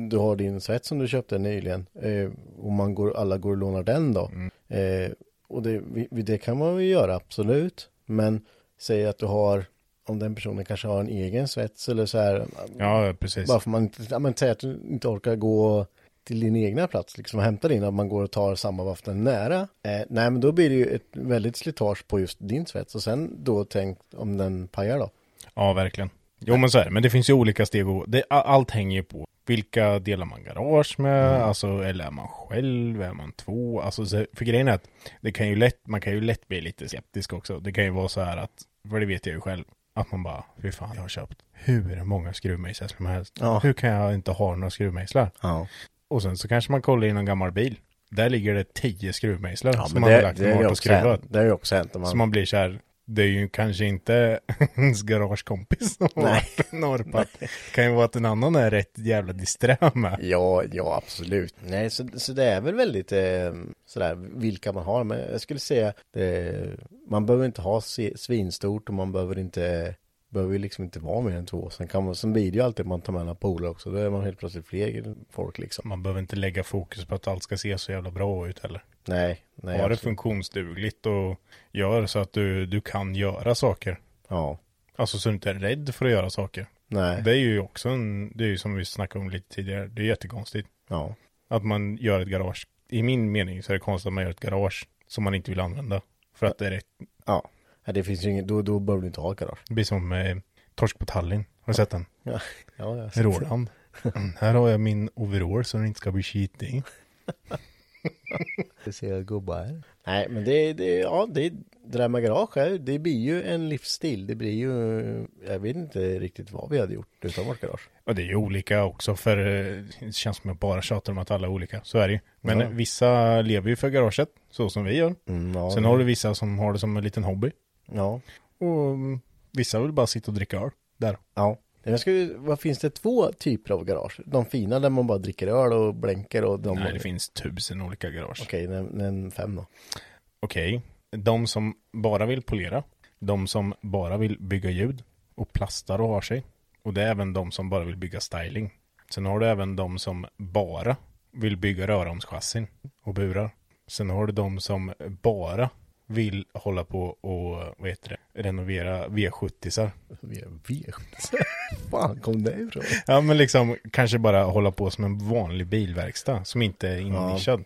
Speaker 2: du har din svets som du köpte nyligen eh, och man går, alla går och lånar den då.
Speaker 1: Mm.
Speaker 2: Eh, och det, vi- vi- det kan man ju göra, absolut. Men säg att du har, om den personen kanske har en egen svets eller så här,
Speaker 1: ja, precis.
Speaker 2: Bara för man inte, ja, men säg att du inte orkar gå till din egna plats liksom och hämta din, att man går och tar samma vatten nära. Eh, nej, men då blir det ju ett väldigt slitage på just din svets och sen då tänk om den pajar då.
Speaker 1: Ja, verkligen. Jo, men så är det. Men det finns ju olika steg att gå. Det, a- allt hänger ju på. Vilka delar man garage med?
Speaker 2: Mm.
Speaker 1: Alltså, eller är man själv? Är man två? Alltså, så, för grejen är att det kan ju lätt, man kan ju lätt bli lite skeptisk också. Det kan ju vara så här att, för det vet jag ju själv, att man bara, fy fan, jag har köpt hur många skruvmejslar som helst.
Speaker 2: Ja.
Speaker 1: Hur kan jag inte ha några skruvmejslar?
Speaker 2: Ja,
Speaker 1: Och sen så kanske man kollar i någon gammal bil. Där ligger det tio skruvmejslar som man har
Speaker 2: det,
Speaker 1: lagt
Speaker 2: det,
Speaker 1: dem
Speaker 2: är
Speaker 1: vart
Speaker 2: ju
Speaker 1: och
Speaker 2: också hänt,
Speaker 1: skruvat.
Speaker 2: det har ju också hänt. om
Speaker 1: Så
Speaker 2: Man,
Speaker 1: man blir så här, det är ju kanske inte ens garagekompis som har
Speaker 2: Nej.
Speaker 1: varit norpat. Det kan ju vara att en annan är rätt jävla disträ med.
Speaker 2: ja, ja, absolut. Nej, så, så det är väl väldigt eh, sådär vilka man har, men jag skulle säga eh, man behöver inte ha se- svinstort och man behöver inte behöver ju liksom inte vara mer än två. Sen, kan man, sen blir det ju alltid att man tar med några polare också. Då är man helt plötsligt fler folk liksom.
Speaker 1: Man behöver inte lägga fokus på att allt ska se så jävla bra ut heller.
Speaker 2: Nej, nej.
Speaker 1: Var det
Speaker 2: absolut.
Speaker 1: funktionsdugligt och gör så att du, du kan göra saker.
Speaker 2: Ja,
Speaker 1: Alltså så du inte är rädd för att göra saker.
Speaker 2: nej.
Speaker 1: Det är ju också en, det är ju som vi snackade om lite tidigare, det är jättekonstigt.
Speaker 2: Ja,
Speaker 1: Att man gör ett garage. I min mening så är det konstigt att man gör ett garage som man inte vill använda. För att det är rätt.
Speaker 2: ja. Ja, det finns ju ingen, då, då behöver du inte ha garage.
Speaker 1: Det blir som eh, Torsk på Tallinn. Har du sett den?
Speaker 2: Ja, ja, jag ser.
Speaker 1: Roland. Mm, här har jag min overall så den inte ska bli skitig.
Speaker 2: Det ser jag gubbar. Nej, men det, det, ja, det, det där med garage, här, det blir ju en livsstil. Det blir ju, jag vet inte riktigt vad vi hade gjort utan vårt garage.
Speaker 1: Och det är ju olika också för eh, det känns som jag bara tjatar om att alla är olika. Så är det ju. Men
Speaker 2: Ja.
Speaker 1: vissa lever ju för garaget, så som vi gör.
Speaker 2: Mm, ja,
Speaker 1: Sen har du vissa som har det som en liten hobby.
Speaker 2: Ja,
Speaker 1: Och mm, vissa vill bara sitta och dricka öl. Där.
Speaker 2: ja. Men jag skulle, vad finns det två typer av garage? De fina där man bara dricker öl och blänkar och de...
Speaker 1: Nej, det finns tusen olika garage.
Speaker 2: Okej, den, den fem då.
Speaker 1: Okej, de som bara vill polera, de som bara vill bygga ljud och plastar och har sig. Och det är även de som bara vill bygga styling. Sen har du även de som bara vill bygga röromschassin och burar. Sen har du de som bara vill hålla på och vad heter det, renovera V70-sar.
Speaker 2: Vi är vet. Fan kom det ifrån?
Speaker 1: Ja men liksom kanske bara hålla på som en vanlig bilverkstad som inte är innischad.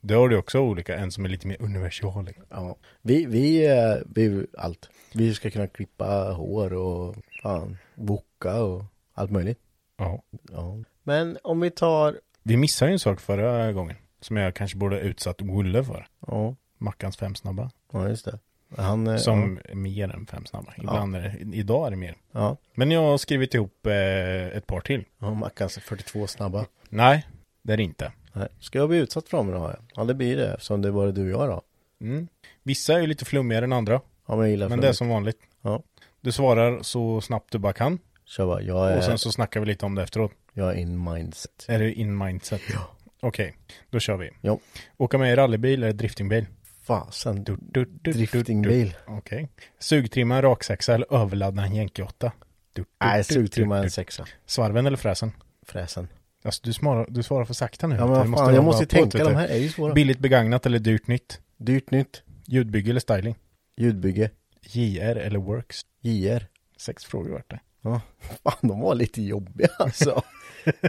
Speaker 1: Det har du också olika, en som är lite mer universal.
Speaker 2: Ja, vi, vi, eh, vi, allt. Vi ska kunna klippa hår och fan, boka och allt möjligt.
Speaker 1: Ja.
Speaker 2: Ja. Men om vi tar,
Speaker 1: Vi missade ju en sak förra gången. Som jag kanske borde ha utsatt Olle för.
Speaker 2: ja,
Speaker 1: Mackans fem snabba.
Speaker 2: ja just det. Han, eh,
Speaker 1: Som är mer än fem snabba. Ibland är det, idag är det mer.
Speaker 2: ja,
Speaker 1: Men jag har skrivit ihop eh, ett par till.
Speaker 2: ja, Mackans 42 snabba.
Speaker 1: Nej, det är det inte.
Speaker 2: Nej. Ska jag bli utsatt för dem då? har jag? Ja, det blir det eftersom det är bara du och jag då.
Speaker 1: Mm. Vissa är ju lite flummigare än andra.
Speaker 2: Ja, men jag gillar
Speaker 1: Men det är
Speaker 2: flummigt.
Speaker 1: som vanligt.
Speaker 2: Ja,
Speaker 1: Du svarar så snabbt du bara kan.
Speaker 2: kör bara. Jag är,
Speaker 1: Och sen så snackar vi lite om det efteråt.
Speaker 2: jag är in mindset.
Speaker 1: Är det in mindset? Ja. Okej, då kör vi.
Speaker 2: Ja,
Speaker 1: Åka med i rallybil eller driftingbil?
Speaker 2: fasen.
Speaker 1: Du, du, du, du,
Speaker 2: Driftingbil.
Speaker 1: du. Okej. Sugtrimma en raksexa eller överladda en jänkeåtta? Du, du, du,
Speaker 2: Nej,
Speaker 1: du,
Speaker 2: sugtrimma
Speaker 1: du.
Speaker 2: en sexa.
Speaker 1: Svarven eller fräsen?
Speaker 2: Fräsen.
Speaker 1: Alltså du, svarar, du svarar för sakta nu.
Speaker 2: Ja, men
Speaker 1: Du
Speaker 2: vad fan, jag
Speaker 1: jobba
Speaker 2: måste ju
Speaker 1: på,
Speaker 2: tänka,
Speaker 1: vet du.
Speaker 2: de här är ju svåra.
Speaker 1: Billigt begagnat eller dyrt nytt?
Speaker 2: Dyrt nytt.
Speaker 1: Ljudbygge eller styling?
Speaker 2: Ljudbygge.
Speaker 1: JR eller works?
Speaker 2: JR.
Speaker 1: Sex frågor vart det.
Speaker 2: Ja, fan de var lite jobbiga alltså.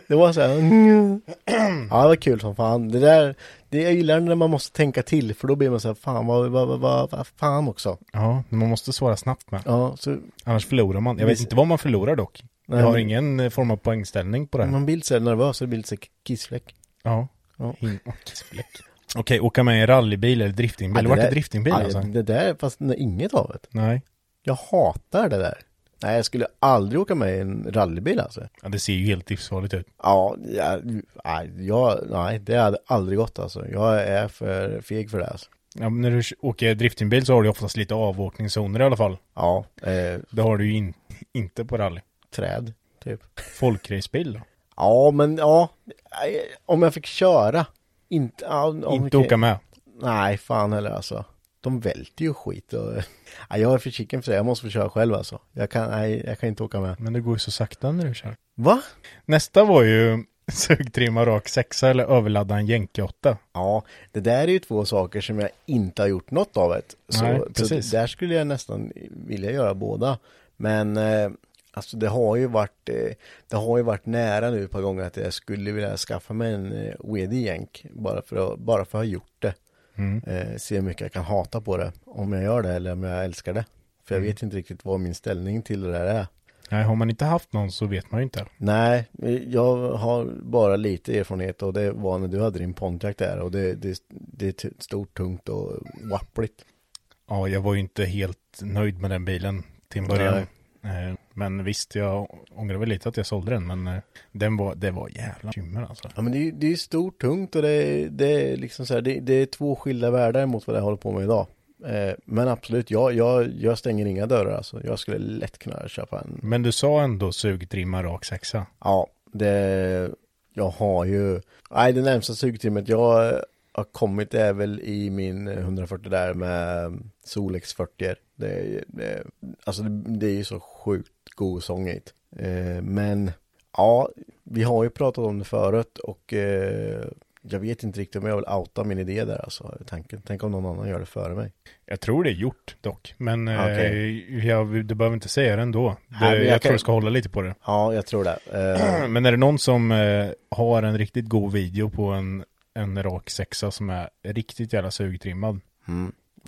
Speaker 2: Det var så här, mm. ja det var kul som fan. Det där, det jag gillar när man måste tänka till för då blir man så här, fan vad, vad, vad, vad, vad fan också.
Speaker 1: Ja, men man måste svara snabbt med.
Speaker 2: Ja, så
Speaker 1: Annars förlorar man. Jag vet
Speaker 2: Visst.
Speaker 1: inte vad man förlorar dock.
Speaker 2: Nej,
Speaker 1: jag har
Speaker 2: men-
Speaker 1: ingen eh, form av poängställning på det här.
Speaker 2: man blir så här nervös och det blir lite så här kissfläck.
Speaker 1: Ja.
Speaker 2: Ja.
Speaker 1: Hin- och kissfläck. Okej, åka med i rallybil eller driftingbil? det vart
Speaker 2: där-
Speaker 1: det driftingbil
Speaker 2: ja,
Speaker 1: alltså?
Speaker 2: Det där, fast nej, inget av det.
Speaker 1: Nej.
Speaker 2: Jag hatar det där. Nej, jag skulle aldrig åka med i en rallybil alltså.
Speaker 1: Ja, det ser ju helt livsfarligt ut.
Speaker 2: Ja, jag, nej, jag, nej, det hade aldrig gått alltså. Jag är för feg för det alltså.
Speaker 1: Ja, men när du åker driftingbil så har du oftast lite avåkningszoner i alla fall.
Speaker 2: Ja, eh,
Speaker 1: Det har du ju in, inte på rally.
Speaker 2: träd, typ.
Speaker 1: Folkracebil då?
Speaker 2: Ja, men ja. nej, Om jag fick köra. Inte, ja, om
Speaker 1: inte åka med.
Speaker 2: Nej, fan heller alltså. De välter ju skit och... Nej, jag är för chicken för det. Jag måste få köra själv alltså. Jag kan, nej, jag kan inte åka med.
Speaker 1: Men det går ju så sakta när du kör.
Speaker 2: Va?
Speaker 1: Nästa var ju sugtrimma rak sexa eller överladda en jänkeåtta.
Speaker 2: Ja, det där är ju två saker som jag inte har gjort något av det. Så,
Speaker 1: Nej,
Speaker 2: så
Speaker 1: precis.
Speaker 2: där skulle jag nästan vilja göra båda. Men eh, alltså det har ju varit, eh, det har ju varit nära nu ett par gånger att jag skulle vilja skaffa mig en eh, wedig jänk bara för att, bara för att ha gjort det.
Speaker 1: Mm.
Speaker 2: Eh, se hur mycket jag kan hata på det, om jag gör det eller om jag älskar det. För jag
Speaker 1: Mm.
Speaker 2: vet inte riktigt vad min ställning till det där är.
Speaker 1: Nej, har man inte haft någon så vet man ju inte.
Speaker 2: Nej, jag har bara lite erfarenhet och det var när du hade din Pontiac där och det, det, det är t- stort, tungt och wappligt.
Speaker 1: Ja, jag var ju inte helt nöjd med den bilen till en början. Eh, Men visst, jag ångrar väl lite att jag sålde den, men eh, den var, det var jävla bekymmer alltså.
Speaker 2: Ja men det är, det är stort, tungt och det, är- det är liksom så här, det, det är två skilda världar mot vad jag håller på med idag. Eh, men absolut, jag, jag, jag stänger inga dörrar alltså. Jag skulle lätt kunna köpa en
Speaker 1: Men du sa ändå sugtrimma rak sexa.
Speaker 2: Ja, det, jag har ju, nej det närmsta sugtimmet jag eh, har kommit är väl i min 140 där med mm, Solex 40 det, är- det, Alltså det, det är ju så sjukt god sångigt. Eh, men ja, vi har ju pratat om det förut och eh, jag vet inte riktigt om jag vill outa min idé där alltså. Tanken, tänk om någon annan gör det före mig.
Speaker 1: Jag tror det är gjort dock, men eh,
Speaker 2: Okej.
Speaker 1: jag, du behöver inte säga det ändå. Det,
Speaker 2: men
Speaker 1: jag,
Speaker 2: jag kan-
Speaker 1: tror du ska hålla lite på det.
Speaker 2: Ja, jag tror det. Eh,
Speaker 1: Men är det någon som eh, har en riktigt god video på en, en rak sexa som är riktigt jävla sugtrimmad?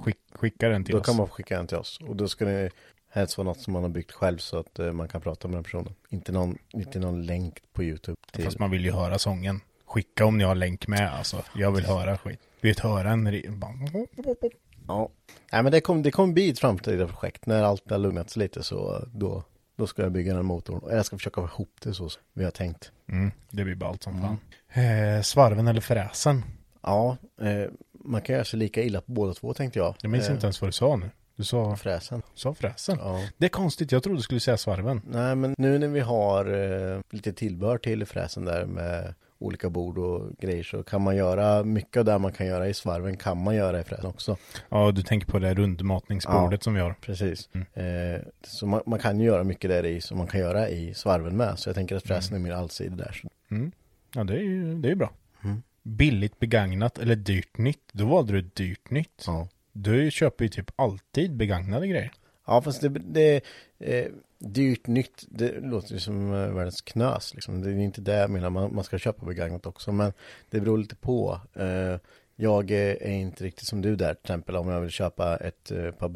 Speaker 1: Skick, skicka den till
Speaker 2: Mm. Då
Speaker 1: oss.
Speaker 2: kan man skicka den till oss. Och då ska det helst vara något som man har byggt själv så att eh, man kan prata med den personen. Inte någon, inte någon länk på YouTube. Till...
Speaker 1: Fast man vill ju höra sången. Skicka om ni har länk med alltså. Jag vill höra skit. Vi vill höra en... ri- bara-
Speaker 2: Ja. Nej men det kommer det kommer bli ett framtida projekt. När allt har lugnat sig lite så eh, då, då ska jag bygga den motorn. Och jag ska försöka få ihop det så som vi har tänkt.
Speaker 1: Mm, det blir ballt som fan.
Speaker 2: Mm.
Speaker 1: Eh, svarven eller fräsen?
Speaker 2: Ja, eh, man kan göra sig lika illa på båda två tänkte jag.
Speaker 1: Jag minns
Speaker 2: Eh,
Speaker 1: inte ens vad du sa nu. Du sa,
Speaker 2: Fräsen.
Speaker 1: sa fräsen.
Speaker 2: Ja.
Speaker 1: Det är konstigt, jag trodde du skulle säga svarven.
Speaker 2: Nej men nu när vi har eh, lite tillbehör till fräsen där med olika bord och grejer så kan man göra mycket av det man kan göra i svarven kan man göra i fräsen också.
Speaker 1: Ja, du tänker på det rundmatningsbordet
Speaker 2: Ja.
Speaker 1: som vi har.
Speaker 2: Precis. Eh, så man, man kan ju göra mycket där i som man kan göra i svarven med. Så jag tänker att fräsen är mer allsidig där. Så.
Speaker 1: Ja, det är ju det är ju bra. Billigt begagnat eller dyrt nytt. Då valde du dyrt nytt.
Speaker 2: Ja.
Speaker 1: Du köper ju typ alltid begagnade grejer.
Speaker 2: Ja fast det, det eh, dyrt nytt, det låter ju som eh, världens knös liksom. Det är inte det jag menar, man, man ska köpa begagnat också. Men det beror lite på. Eh, jag eh, är inte riktigt som du där, till exempel om jag vill köpa ett eh, par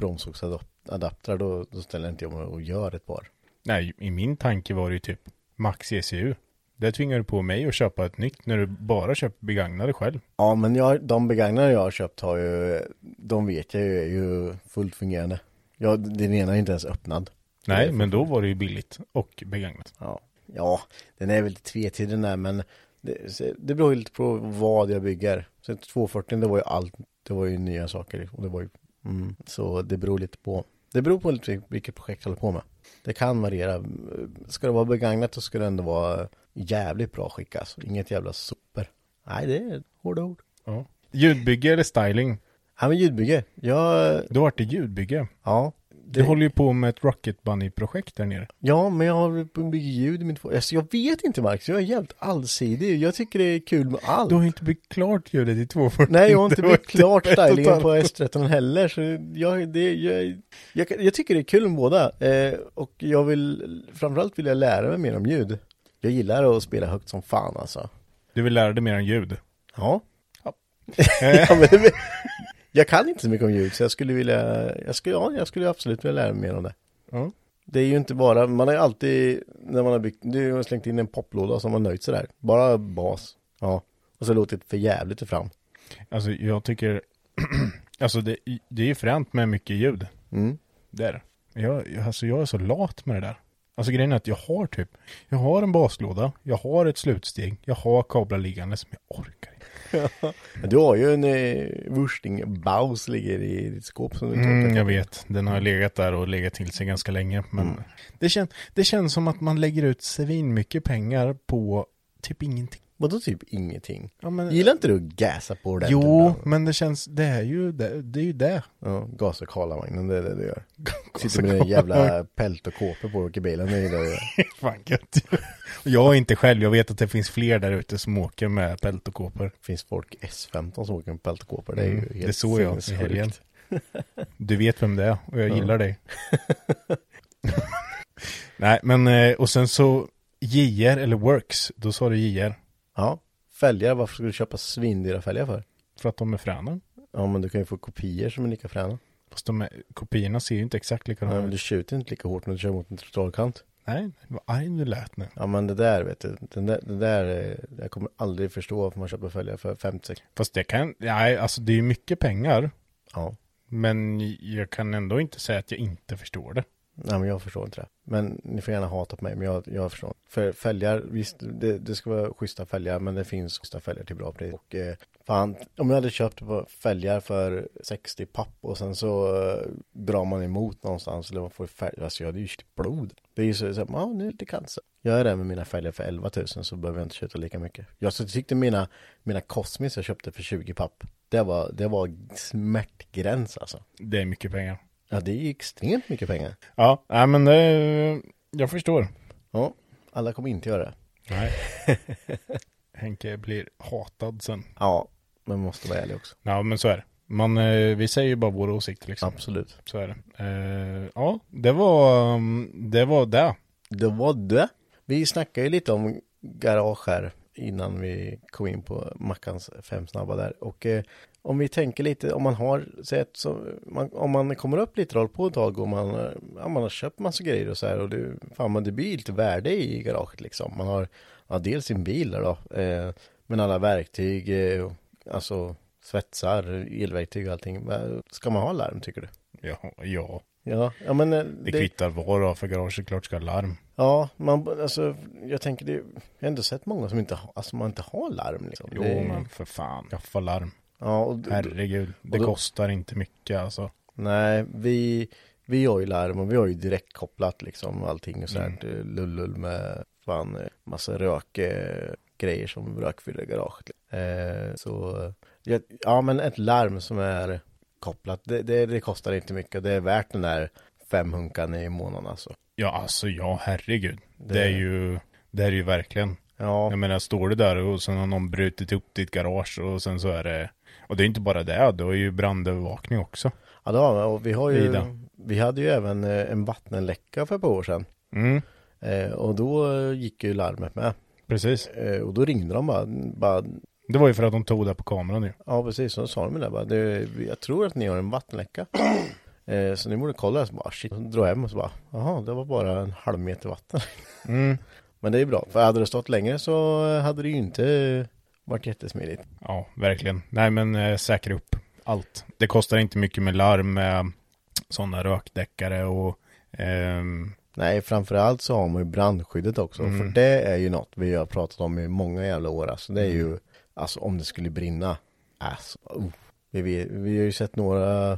Speaker 2: bromsoksadaptrar då, då ställer inte jag mig och gör ett par.
Speaker 1: Nej, i min tanke var det ju typ Max ECU. Det tvingar du på mig att köpa ett nytt när du bara köper begagnade själv.
Speaker 2: Ja men jag, de begagnade jag har köpt har ju, de vet jag ju är ju fullt fungerande. Ja, den ena är inte ens öppnad.
Speaker 1: Nej, men då var det ju billigt och begagnat.
Speaker 2: Ja, ja den är väl lite tvetydig den där men det, så- det beror ju lite på vad jag bygger. Så 240 det var ju allt, det var ju nya saker och det var ju, mm, så det beror lite på. Det beror på lite vilket projekt jag håller på med. Det kan variera. Ska det vara begagnat så ska det ändå vara jävligt bra skick alltså. Inget jävla super. Nej, det är hårda ord.
Speaker 1: Ja. Ljudbygge eller styling?
Speaker 2: Ja, men ljudbygge. Jag,
Speaker 1: Då vart det ljudbygge.
Speaker 2: ja.
Speaker 1: Du håller ju på med ett Rocket Bunny-projekt där nere.
Speaker 2: Ja, men jag har byggt ljud i mitt... Alltså, jag vet inte Marcus, jag är jävligt allsidig. Jag tycker det är kul med allt.
Speaker 1: Du har ju inte byggt klart ljudet i 240.
Speaker 2: Nej, jag har inte
Speaker 1: Det var
Speaker 2: blivit klart
Speaker 1: ett och ett
Speaker 2: stylingen
Speaker 1: halvt
Speaker 2: på S13 heller, så jag, det, jag, jag, kan- jag tycker det är kul med båda. Eh, och jag vill, framförallt vill jag lära mig mer om ljud. Jag gillar att spela högt som fan alltså.
Speaker 1: Du vill lära dig mer om ljud.
Speaker 2: Ja. ja men, det- jag kan inte så mycket om ljud, så jag skulle vilja, jag skulle, ja, jag skulle absolut vilja lära mig mer om det.
Speaker 1: Ja.
Speaker 2: Det är ju inte bara, man har ju alltid, när man har byggt, du har slängt in en poplåda och så har man nöjt sig där. Bara bas. Ja. Och så låtit för jävligt fram.
Speaker 1: Alltså jag tycker, alltså det, det är ju fränt med mycket ljud.
Speaker 2: Mm.
Speaker 1: Det är det. Jag, jag- alltså jag är så lat med det där. Alltså grejen är att jag har typ, jag har en baslåda, jag har ett slutsteg, jag har kablar liggandes, men jag orkar inte.
Speaker 2: Men Du har ju en eh, Wursting Baus ligger i ditt skåp som du inte orkar.
Speaker 1: Mm, jag vet, den har legat där och legat till sig ganska länge. Men
Speaker 2: Mm.
Speaker 1: det, kän, det känns som att man lägger ut svin mycket pengar på typ ingenting.
Speaker 2: Vadå typ ingenting?
Speaker 1: Ja, men-
Speaker 2: Gillar inte du att gasa på det?
Speaker 1: Jo, men det känns, det är ju det, det är ju det.
Speaker 2: Ja, gasa Karlavagnen, det är det du gör. Sitter med dina jävla pält och kåpor på och åker bilen, det är det du gör.
Speaker 1: Fan gött. Och Jag är inte själv, jag vet att det finns fler där ute som åker med pält och kåpor. Mm,
Speaker 2: Det finns folk S15 som åker med pält och kåpor, det är ju helt
Speaker 1: Det såg jag i
Speaker 2: sinnessjukt.
Speaker 1: helgen. Du vet vem det är och jag gillar dig. Nej, men eh, och sen så JR eller Works, då sa du JR.
Speaker 2: Ja, fälgar, varför ska du köpa svindyra fälgar för?
Speaker 1: För att de är fräna.
Speaker 2: Ja men du kan ju få kopior som är lika fräna.
Speaker 1: Fast de är, kopiorna ser ju inte exakt
Speaker 2: Ja,
Speaker 1: likadana
Speaker 2: men
Speaker 1: ut.
Speaker 2: du skjuter inte lika hårt när du kör mot en trottoarkant.
Speaker 1: Nej, vad arg du lät nu.
Speaker 2: Ja men det där vet du, den där, den där, eh, jag kommer aldrig förstå varför man köper fälgar för 50
Speaker 1: Fast det kan, nej, alltså det är ju mycket pengar.
Speaker 2: Ja,
Speaker 1: Men jag kan ändå inte säga att jag inte förstår det.
Speaker 2: nej men jag förstår inte det. Men ni får gärna hata på mig, men jag, jag förstår. För fälgar, visst, det, det ska vara schyssta fälgar, men det finns schyssta fälgar till bra pris. Och eh, fan, om jag hade köpt på fälgar för 60 papp och sen så eh, drar man emot någonstans eller man får fälgar, alltså jag hade ju köpt blod. Det är ju så, så här, ja nu är det lite cancer. Gör jag det med mina fälgar för 11 000 så behöver jag inte köpa lika mycket. Jag så tyckte mina, mina Cosmis jag köpte för 20 papp, det var, det var smärtgräns alltså.
Speaker 1: Det är mycket pengar.
Speaker 2: Ja, det är ju extremt mycket pengar.
Speaker 1: Ja, nej men det, jag förstår.
Speaker 2: Ja, alla kommer inte göra det.
Speaker 1: Nej. Henke blir hatad sen.
Speaker 2: Ja, men måste vara ärlig också.
Speaker 1: Ja, men så är det. Man, eh, vi säger ju bara våra åsikter liksom.
Speaker 2: Absolut.
Speaker 1: Så är det. Eh, ja, det var mm, det. Var det.
Speaker 2: Det var det. Vi snackade ju lite om garage här innan vi kom in på Mackans fem snabba där. Och eh, om vi tänker lite, om man har sett så, man, om man kommer upp lite roll på ett tag och man, eh, ja, man har köpt massa grejer och så här och det, fan men det blir lite värde i garaget liksom. Man har, ja, dels sin bil där då, eh, men alla verktyg, eh, och- alltså svetsar, elverktyg och allting. Va- Ska man ha larm tycker du?
Speaker 1: Ja, ja.
Speaker 2: Ja, ja men eh,
Speaker 1: Det, kvittar vad du har för garage, klart ska ha larm.
Speaker 2: Ja, man, alltså, jag tänker det, jag har ändå sett många som inte, ha- alltså, man inte har larm liksom.
Speaker 1: Jo,
Speaker 2: det,
Speaker 1: men för fan. Skaffa larm.
Speaker 2: Ja, och, d-
Speaker 1: Herregud. Det
Speaker 2: då-
Speaker 1: kostar inte mycket alltså.
Speaker 2: nej, vi, vi har ju larm och vi har ju direkt kopplat liksom allting och sånt mm. lullull med fan eh, massa rök, eh, grejer som rökfyller garaget. Eh, så, eh, ja, ja men ett larm som är kopplat, det, det, det kostar inte mycket, det är värt den där femhunkan i månaden alltså.
Speaker 1: Ja, alltså ja, herregud. Det, är ju, det är ju verkligen.
Speaker 2: Ja,
Speaker 1: Jag menar, står du där och sen har någon brutit upp ditt garage och sen så är det... Och det är inte bara det, det är ju brandövervakning också.
Speaker 2: ja det har vi. och vi har ju,
Speaker 1: Vida.
Speaker 2: vi hade ju även eh, en vattenläcka för ett par år sedan.
Speaker 1: Mm,
Speaker 2: Eh, och då eh, gick ju larmet med.
Speaker 1: precis.
Speaker 2: Eh, och då ringde de bara, bara
Speaker 1: Det var ju för att de tog det på kameran ju.
Speaker 2: ja precis, så sa de det bara, det, jag tror att ni har en vattenläcka. Eh, så ni borde kolla, så bara shit, så drar jag hem och så bara, jaha, det var bara en halv meter vatten. Men det är bra, för hade det stått längre så eh, hade det ju inte varit jättesmidigt.
Speaker 1: Ja, verkligen. Nej, men eh, säkra upp allt. Det kostar inte mycket med larm, eh, sådana rökdäckare och... ehm,
Speaker 2: Nej, framförallt så har man ju brandskyddet också,
Speaker 1: Mm.
Speaker 2: för det är ju något vi har pratat om i många jävla år. Alltså det är
Speaker 1: Mm.
Speaker 2: ju, alltså om det skulle brinna, alltså, oh. vi, vi, vi har ju sett några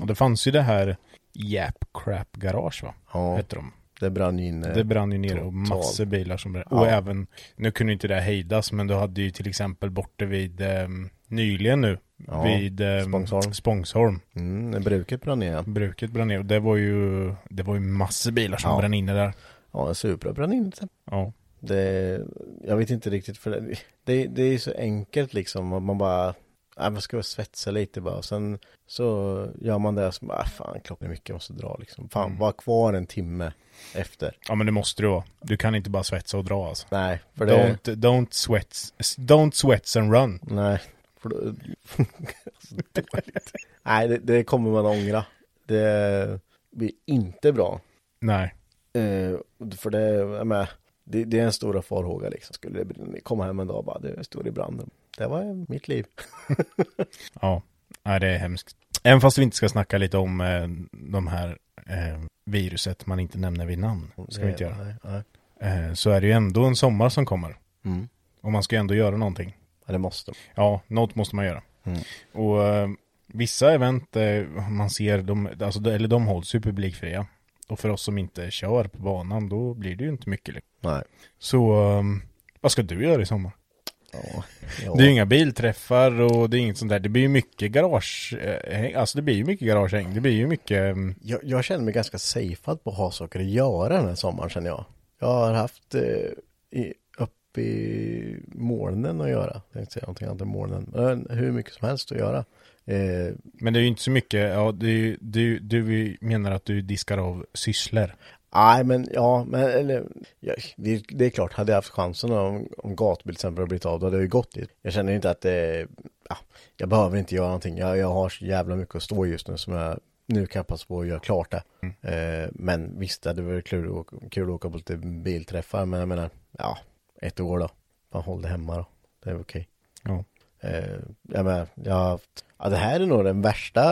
Speaker 1: och det fanns ju det här Jap Crap Garage, va?
Speaker 2: Ja.
Speaker 1: Hette de.
Speaker 2: Det brann ju inne.
Speaker 1: Det brann ju ner och
Speaker 2: Eh, Totalt.
Speaker 1: massor bilar som brann. Och
Speaker 2: Ja.
Speaker 1: även, nu kunde inte det här hejdas, men du hade ju till exempel borta vid ehm, nyligen nu,
Speaker 2: Ja,
Speaker 1: vid ehm,
Speaker 2: Spångsholm.
Speaker 1: Spångsholm.
Speaker 2: Mm, när bruket brann ner.
Speaker 1: Bruket brann ner och det var ju, det var ju massor bilar som
Speaker 2: Ja.
Speaker 1: brann inne där.
Speaker 2: Ja, en Supra brann inne. till exempel.
Speaker 1: Ja.
Speaker 2: Det, jag vet inte riktigt för det, det, det är ju så enkelt liksom. att Man bara, nej, man ska bara svetsa lite bara. Och sen så gör man det som, ah, fan klockan är mycket, jag måste dra liksom. Fan,
Speaker 1: Mm.
Speaker 2: var kvar en timme efter.
Speaker 1: ja, men det måste du vara. Du kan inte bara svetsa och dra alltså.
Speaker 2: Nej, för det,
Speaker 1: Don't, don't, sweats, don't sweats and run.
Speaker 2: nej. För då, alltså, dåligt. nej, det, det kommer man ångra. Det blir inte bra.
Speaker 1: Nej.
Speaker 2: Eh, för det, jag menar, det, det är en stora farhåga liksom. Skulle det brinna ner, komma hem en dag och bara, det stod i branden. Det var mitt liv.
Speaker 1: Ja, nej, det är hemskt. Även fast vi inte ska snacka lite om eh, de här eh, viruset man inte nämner vid namn. Ska vi inte göra.
Speaker 2: Nej, nej.
Speaker 1: Eh, så är det ju ändå en sommar som kommer. Och man ska ju ändå göra någonting.
Speaker 2: Ja, det måste
Speaker 1: Ja, något måste man göra. Och eh, vissa event eh, man ser, de, alltså, de- eller de hålls ju publikfria. Och för oss som inte kör på banan, då blir det ju inte mycket. liksom.
Speaker 2: Nej.
Speaker 1: Så eh, vad ska du göra i sommar?
Speaker 2: Ja. ja.
Speaker 1: Det är ju inga bilträffar och det är inget sånt där. Det blir ju mycket garage, eh, häng- alltså det blir ju mycket garagehäng. Det blir ju mycket, mm,
Speaker 2: jag, jag känner mig ganska safead på att ha saker att göra den här sommaren känner jag. Jag har haft eh, i, upp i molnen att göra. Jag tänkte säga någonting annat än molnen. Men hur mycket som helst att göra. Eh,
Speaker 1: men det är ju inte så mycket, ja du, du, du menar att du diskar av sysslor.
Speaker 2: Nej, men ja, men eller, ja, det, det är klart, hade jag haft chansen om, om gatbil till exempel hade blivit av, då hade jag ju gått dit. Jag känner inte att det, ja, jag behöver inte göra någonting. Jag, jag har så jävla mycket att stå i just nu som jag, nu kan jag passa på att göra klart det. Eh, men visst, det hade varit kul att, åka- kul att åka på lite bilträffar, men jag menar, ja, ett år då. Fan, håll det hemma då. Det är okej.
Speaker 1: Ja.
Speaker 2: Eh, jag menar, jag har haft, ja, det här är nog den värsta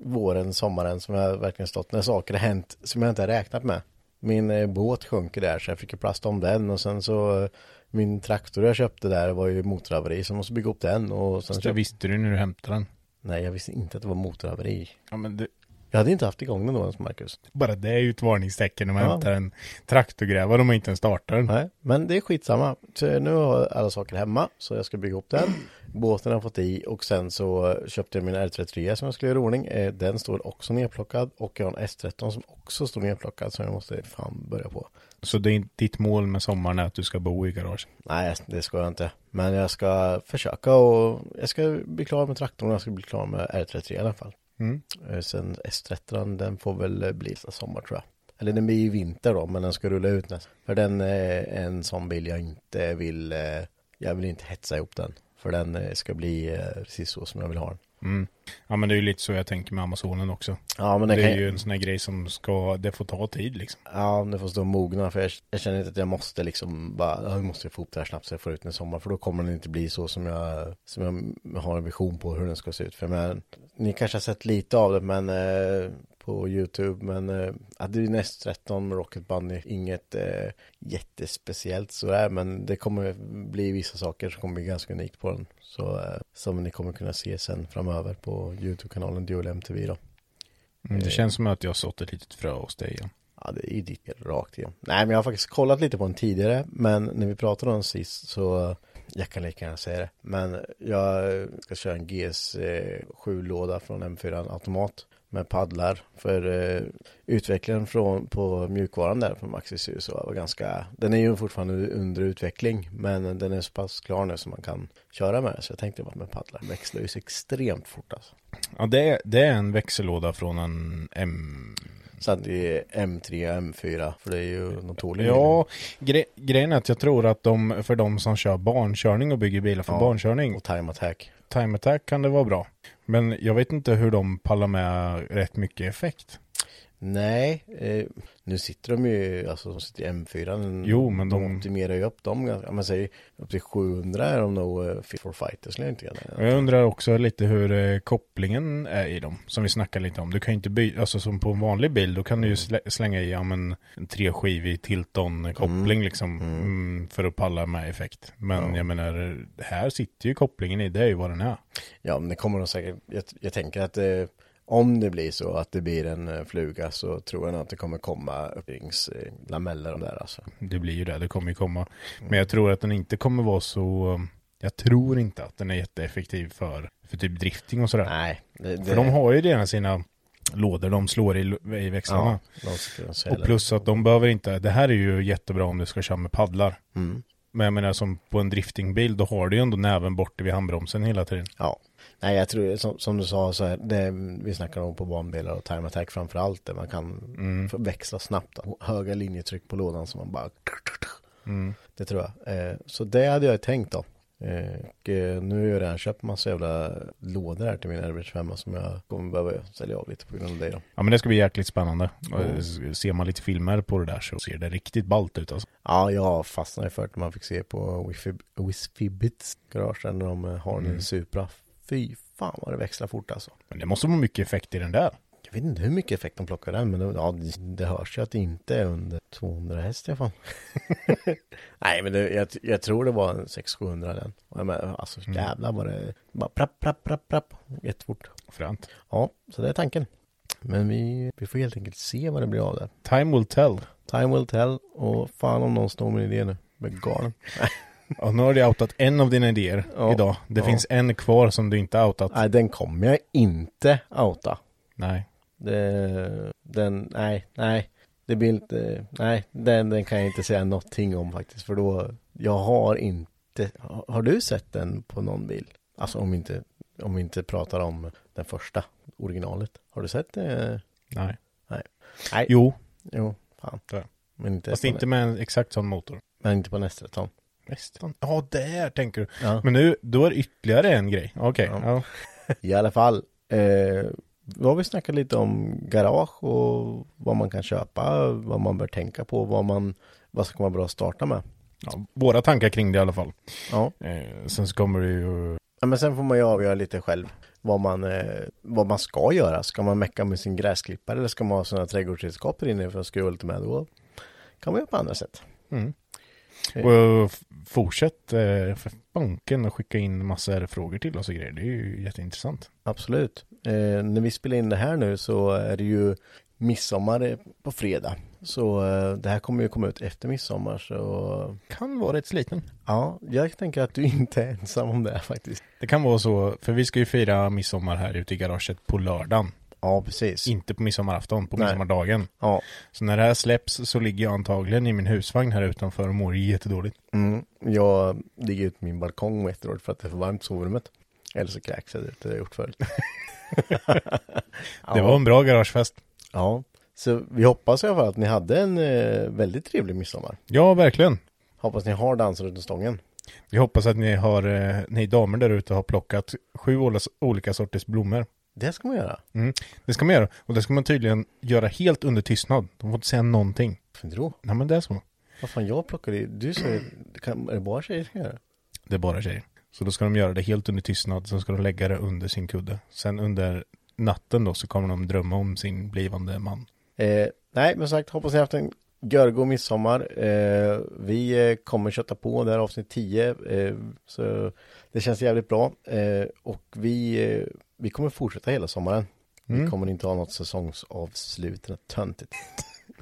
Speaker 2: våren, sommaren som jag verkligen stått när saker har hänt som jag inte har räknat med. Min eh, båt sjönk ju där så jag fick ju plasta om den och sen så eh, min traktor jag köpte där var ju motorhaveri så jag måste bygga upp den och sen
Speaker 1: Det
Speaker 2: köpte...
Speaker 1: visste du när du hämtade den.
Speaker 2: Nej, jag visste inte att det var motorhaveri.
Speaker 1: Ja men det,
Speaker 2: Jag hade inte haft igång den då ens, Marcus.
Speaker 1: bara det är ju ett varningstecken när man
Speaker 2: Ja.
Speaker 1: hämtar en traktorgrävare och man inte ens startar den.
Speaker 2: Nej, men det är skitsamma. Så nu har jag alla saker hemma så jag ska bygga upp den. Båten har jag fått i och sen så köpte jag min R33 som jag skulle göra i ordning. Eh, Den står också nedplockad och jag har en S13 som också står nedplockad som jag måste fan börja på.
Speaker 1: Så det är, inte- ditt mål med sommaren är att du ska bo i garage.
Speaker 2: Nej, det ska jag inte. Men jag ska försöka och jag ska bli klar med traktorn och jag ska bli klar med R33 i alla fall.
Speaker 1: Mm.
Speaker 2: Eh, Sen S13, den får väl eh, bli nästa sommar tror jag. Eller den blir ju vinter då, men den ska rulla ut eh, nästa. För den är en sån bil jag inte vill, eh, jag vill inte hetsa ihop den. För För den eh, ska bli eh, precis så som jag vill ha den.
Speaker 1: Ja men det är ju lite så jag tänker med Amazonen också.
Speaker 2: Ja, men
Speaker 1: Det
Speaker 2: den kan
Speaker 1: är ju en sån här grej som ska, det får ta tid liksom.
Speaker 2: Ja, om det får stå och mogna för jag, jag känner inte att jag måste liksom bara, "Ja, nu måste jag få ihop det här snabbt så jag får ut den i sommar för då kommer den inte bli så som jag, som jag har en vision på hur den ska se ut. För jag menar, ni kanske har sett lite av det men eh, på YouTube men eh, ja, det är ju näst 13 Rocket Bunny, inget eh, jättespeciellt sådär men det kommer bli vissa saker som kommer bli ganska unikt på den. Så eh, som ni kommer kunna se sen framöver på YouTube-kanalen Dual MTV då.
Speaker 1: Mm, det känns som att jag har sått ett litet frö hos dig igen.
Speaker 2: Ja, det är ju ditt rakt igen. Nej, men jag har faktiskt kollat lite på den tidigare, men när vi pratade om den sist så jag kan lika gärna säga det, men jag ska köra en GS7-låda från M4 automat med paddlar för eh, utvecklingen från, på mjukvaran där från Maxis USA var ganska, den är ju fortfarande under utveckling men den är så pass klar nu som man kan köra med så jag tänkte bara med paddlar, växlar ju så extremt fort alltså.
Speaker 1: Ja det är, det är en växellåda från en M...
Speaker 2: Så att det är M3 och M4 för det är ju notorium.
Speaker 1: Ja, gre grejen är att jag tror att de, för de som kör barnkörning och bygger bilar för barnkörning,
Speaker 2: och time attack.
Speaker 1: time attack kan det vara bra. Men jag vet inte hur de pallar med rätt mycket effekt.
Speaker 2: Nej, eh, nu sitter de ju, alltså de sitter i M4.
Speaker 1: Jo, men de-
Speaker 2: optimerar ju upp dem ganska, man säger upp till 700 är de nog eh, fit for fight, skulle jag inte
Speaker 1: Och
Speaker 2: kunna.
Speaker 1: Jag undrar också lite hur eh, kopplingen är i dem, som vi snackade lite om. Du kan ju inte byta, alltså som på en vanlig bil, då kan du ju slä- slänga i ja, men, en treskivig Tilton-koppling liksom, mm, för att palla med effekt. Men jag menar, här sitter ju kopplingen i, det är ju vad den är.
Speaker 2: Ja, men det kommer de säkert, jag, jag tänker att eh, om det blir så att det blir en eh, fluga så tror jag nog att det kommer komma öppningslameller eh, där alltså.
Speaker 1: Det blir ju det, det kommer ju komma. Men jag tror att den inte kommer vara så, eh, jag tror inte att den är jätteeffektiv för, för typ drifting och sådär.
Speaker 2: Nej, det, det,
Speaker 1: För de har ju redan sina lådor de slår i, i växlarna.
Speaker 2: ja, de sitter och
Speaker 1: Och
Speaker 2: säljer.
Speaker 1: plus att de behöver inte, det här är ju jättebra om du ska köra med paddlar.
Speaker 2: Mm.
Speaker 1: Men jag menar som på en driftingbil, då har du ju ändå näven borta vid handbromsen hela tiden.
Speaker 2: Ja. Nej, jag tror som, som du sa så här, det, vi snackar om på banbilar och time attack framför allt där man kan få växla snabbt. Höga linjetryck på lådan som man bara... Det tror jag. Eh, så det hade jag tänkt då. Eh, och eh, nu har jag redan köpt massa jävla lådor här till min Airbridge 5 som jag kommer behöva sälja av lite på grund av det då.
Speaker 1: Ja men det ska bli jäkligt spännande. Och s- Ser man lite filmer på det där så ser det riktigt ballt ut alltså.
Speaker 2: Ja, jag fastnade för att man fick se på Wisfibits garage där när de eh, har en Supra. Fy fan vad det växlar fort alltså.
Speaker 1: Men det måste vara mycket effekt i den där.
Speaker 2: Jag vet inte hur mycket effekt de plockar den, men det, ja, det- det hörs ju att det inte är under 200 häst i alla fall. Nej, men det, jag, jag tror det var en 600-700 den. Och jag menar, alltså jävlar vad det bara prapp, prapp, prapp, prapp, jättefort.
Speaker 1: Fränt.
Speaker 2: Ja, så det är tanken. Men vi, vi får helt enkelt se vad det blir av det.
Speaker 1: Time will tell.
Speaker 2: Time will tell och fan om någon snor min idé nu. Jag blir galen.
Speaker 1: Ja, nu har du outat en av dina idéer
Speaker 2: Ja.
Speaker 1: idag. Det
Speaker 2: Ja.
Speaker 1: finns en kvar som du inte outat.
Speaker 2: Nej, den kommer jag inte outa.
Speaker 1: Nej.
Speaker 2: Det, den, nej, nej. Det blir inte, nej, den, den kan jag inte säga någonting om faktiskt. För då, jag har inte, har har du sett den på någon bil? Alltså om vi inte, om vi inte pratar om den första, originalet. Har du sett det?
Speaker 1: Nej.
Speaker 2: Nej.
Speaker 1: Jo,
Speaker 2: Jo, fan.
Speaker 1: det har jag.
Speaker 2: Men inte,
Speaker 1: fast
Speaker 2: på,
Speaker 1: inte
Speaker 2: nä-
Speaker 1: med en exakt sån motor.
Speaker 2: men inte på nästa
Speaker 1: Nästan. Ja, där tänker du.
Speaker 2: Ja.
Speaker 1: Men nu, då är det ytterligare en grej. Okej. Ja.
Speaker 2: I alla fall, eh, då har vi snackat lite om garage och vad man kan köpa, vad man bör tänka på, vad man, vad ska vara bra att starta med.
Speaker 1: Ja, våra tankar kring det i alla fall.
Speaker 2: Ja.
Speaker 1: Eh, sen så kommer det ju...
Speaker 2: Ja, men sen får man ju avgöra lite själv vad man, eh, vad man ska göra. Ska man mecka med sin gräsklippare eller ska man ha sådana trädgårdsredskap där inne för att skruva lite med? Då kan man göra på andra sätt.
Speaker 1: Och, eh, f- fortsätt eh, för banken och skicka in massor frågor till oss och grejer. Det är ju jätteintressant.
Speaker 2: Absolut. Eh, när vi spelar in det här nu så är det ju midsommar eh, på fredag. Så eh, det här kommer ju komma ut efter midsommar. Så
Speaker 1: Kan vara rätt sliten.
Speaker 2: ja, jag tänker att du inte är ensam om det här faktiskt.
Speaker 1: Det kan vara så, för vi ska ju fira midsommar här ute i garaget på lördagen.
Speaker 2: Ja, precis.
Speaker 1: Inte på midsommarafton, på
Speaker 2: Nej.
Speaker 1: midsommardagen.
Speaker 2: Ja,
Speaker 1: Så när det här släpps så ligger jag antagligen i min husvagn här utanför och mår jättedåligt.
Speaker 2: mm. jag ligger ute på min balkong om ett år för att det är för varmt i sovrummet. Eller så kräks jag, det har jag gjort förut.
Speaker 1: Det var en bra garagefest.
Speaker 2: Ja, så vi hoppas i alla fall att ni hade en eh, väldigt trevlig midsommar.
Speaker 1: Ja, verkligen.
Speaker 2: Hoppas ni har danser under stången.
Speaker 1: Vi hoppas att ni har, eh, ni damer där ute har plockat sju ola- olika sorters blommor.
Speaker 2: Det ska man göra.
Speaker 1: Mm. Det ska man göra. Och det ska man tydligen göra helt under tystnad. De får inte säga någonting.
Speaker 2: Varför inte då?
Speaker 1: Nej men det är så.
Speaker 2: Vad fan, jag plockade ju- Du sa ju, det kan- är det bara tjejer som kan göra det?
Speaker 1: Det är bara tjejer. Så då ska de göra det helt under tystnad. Sen ska de lägga det under sin kudde. Sen under natten då så kommer de drömma om sin blivande man.
Speaker 2: Eh, nej, men som sagt, hoppas ni har haft en görgo midsommar. Eh, vi eh, kommer köta på det här avsnitt 10. Eh, så det känns jävligt bra. Eh, och vi, eh, vi kommer fortsätta hela sommaren. Vi kommer inte ha något säsongsavslut, det är töntigt.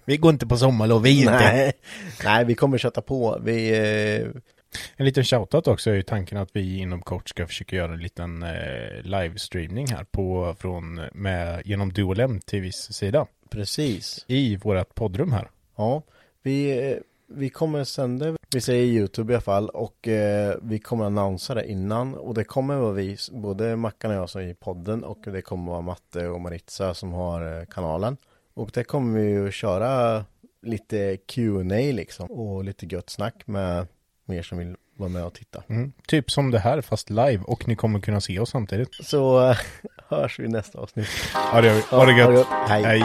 Speaker 1: Vi går inte på sommarlov, vi
Speaker 2: Nej, nej, vi kommer köta på. Vi, eh,
Speaker 1: En liten shoutout också är ju tanken att vi inom kort ska försöka göra en liten eh, livestreamning här på, från, med, genom Duolem till viss sida
Speaker 2: precis.
Speaker 1: i vårat poddrum här.
Speaker 2: Ja, vi, eh, vi kommer sända, vi säger YouTube i alla fall och eh, vi kommer annonsera det innan och det kommer vara vi, både Mackan och jag som är i podden och det kommer vara Matte och Maritza som har eh, kanalen. Och det kommer vi ju köra lite Q&A liksom och lite gött snack med mer som vill vara med och titta.
Speaker 1: Mm. Typ som det här fast live och ni kommer kunna se oss samtidigt.
Speaker 2: Så eh, hörs vi i nästa avsnitt.
Speaker 1: Ha det, ha det
Speaker 2: Ja, ha det
Speaker 1: gött.
Speaker 2: gött. Hej.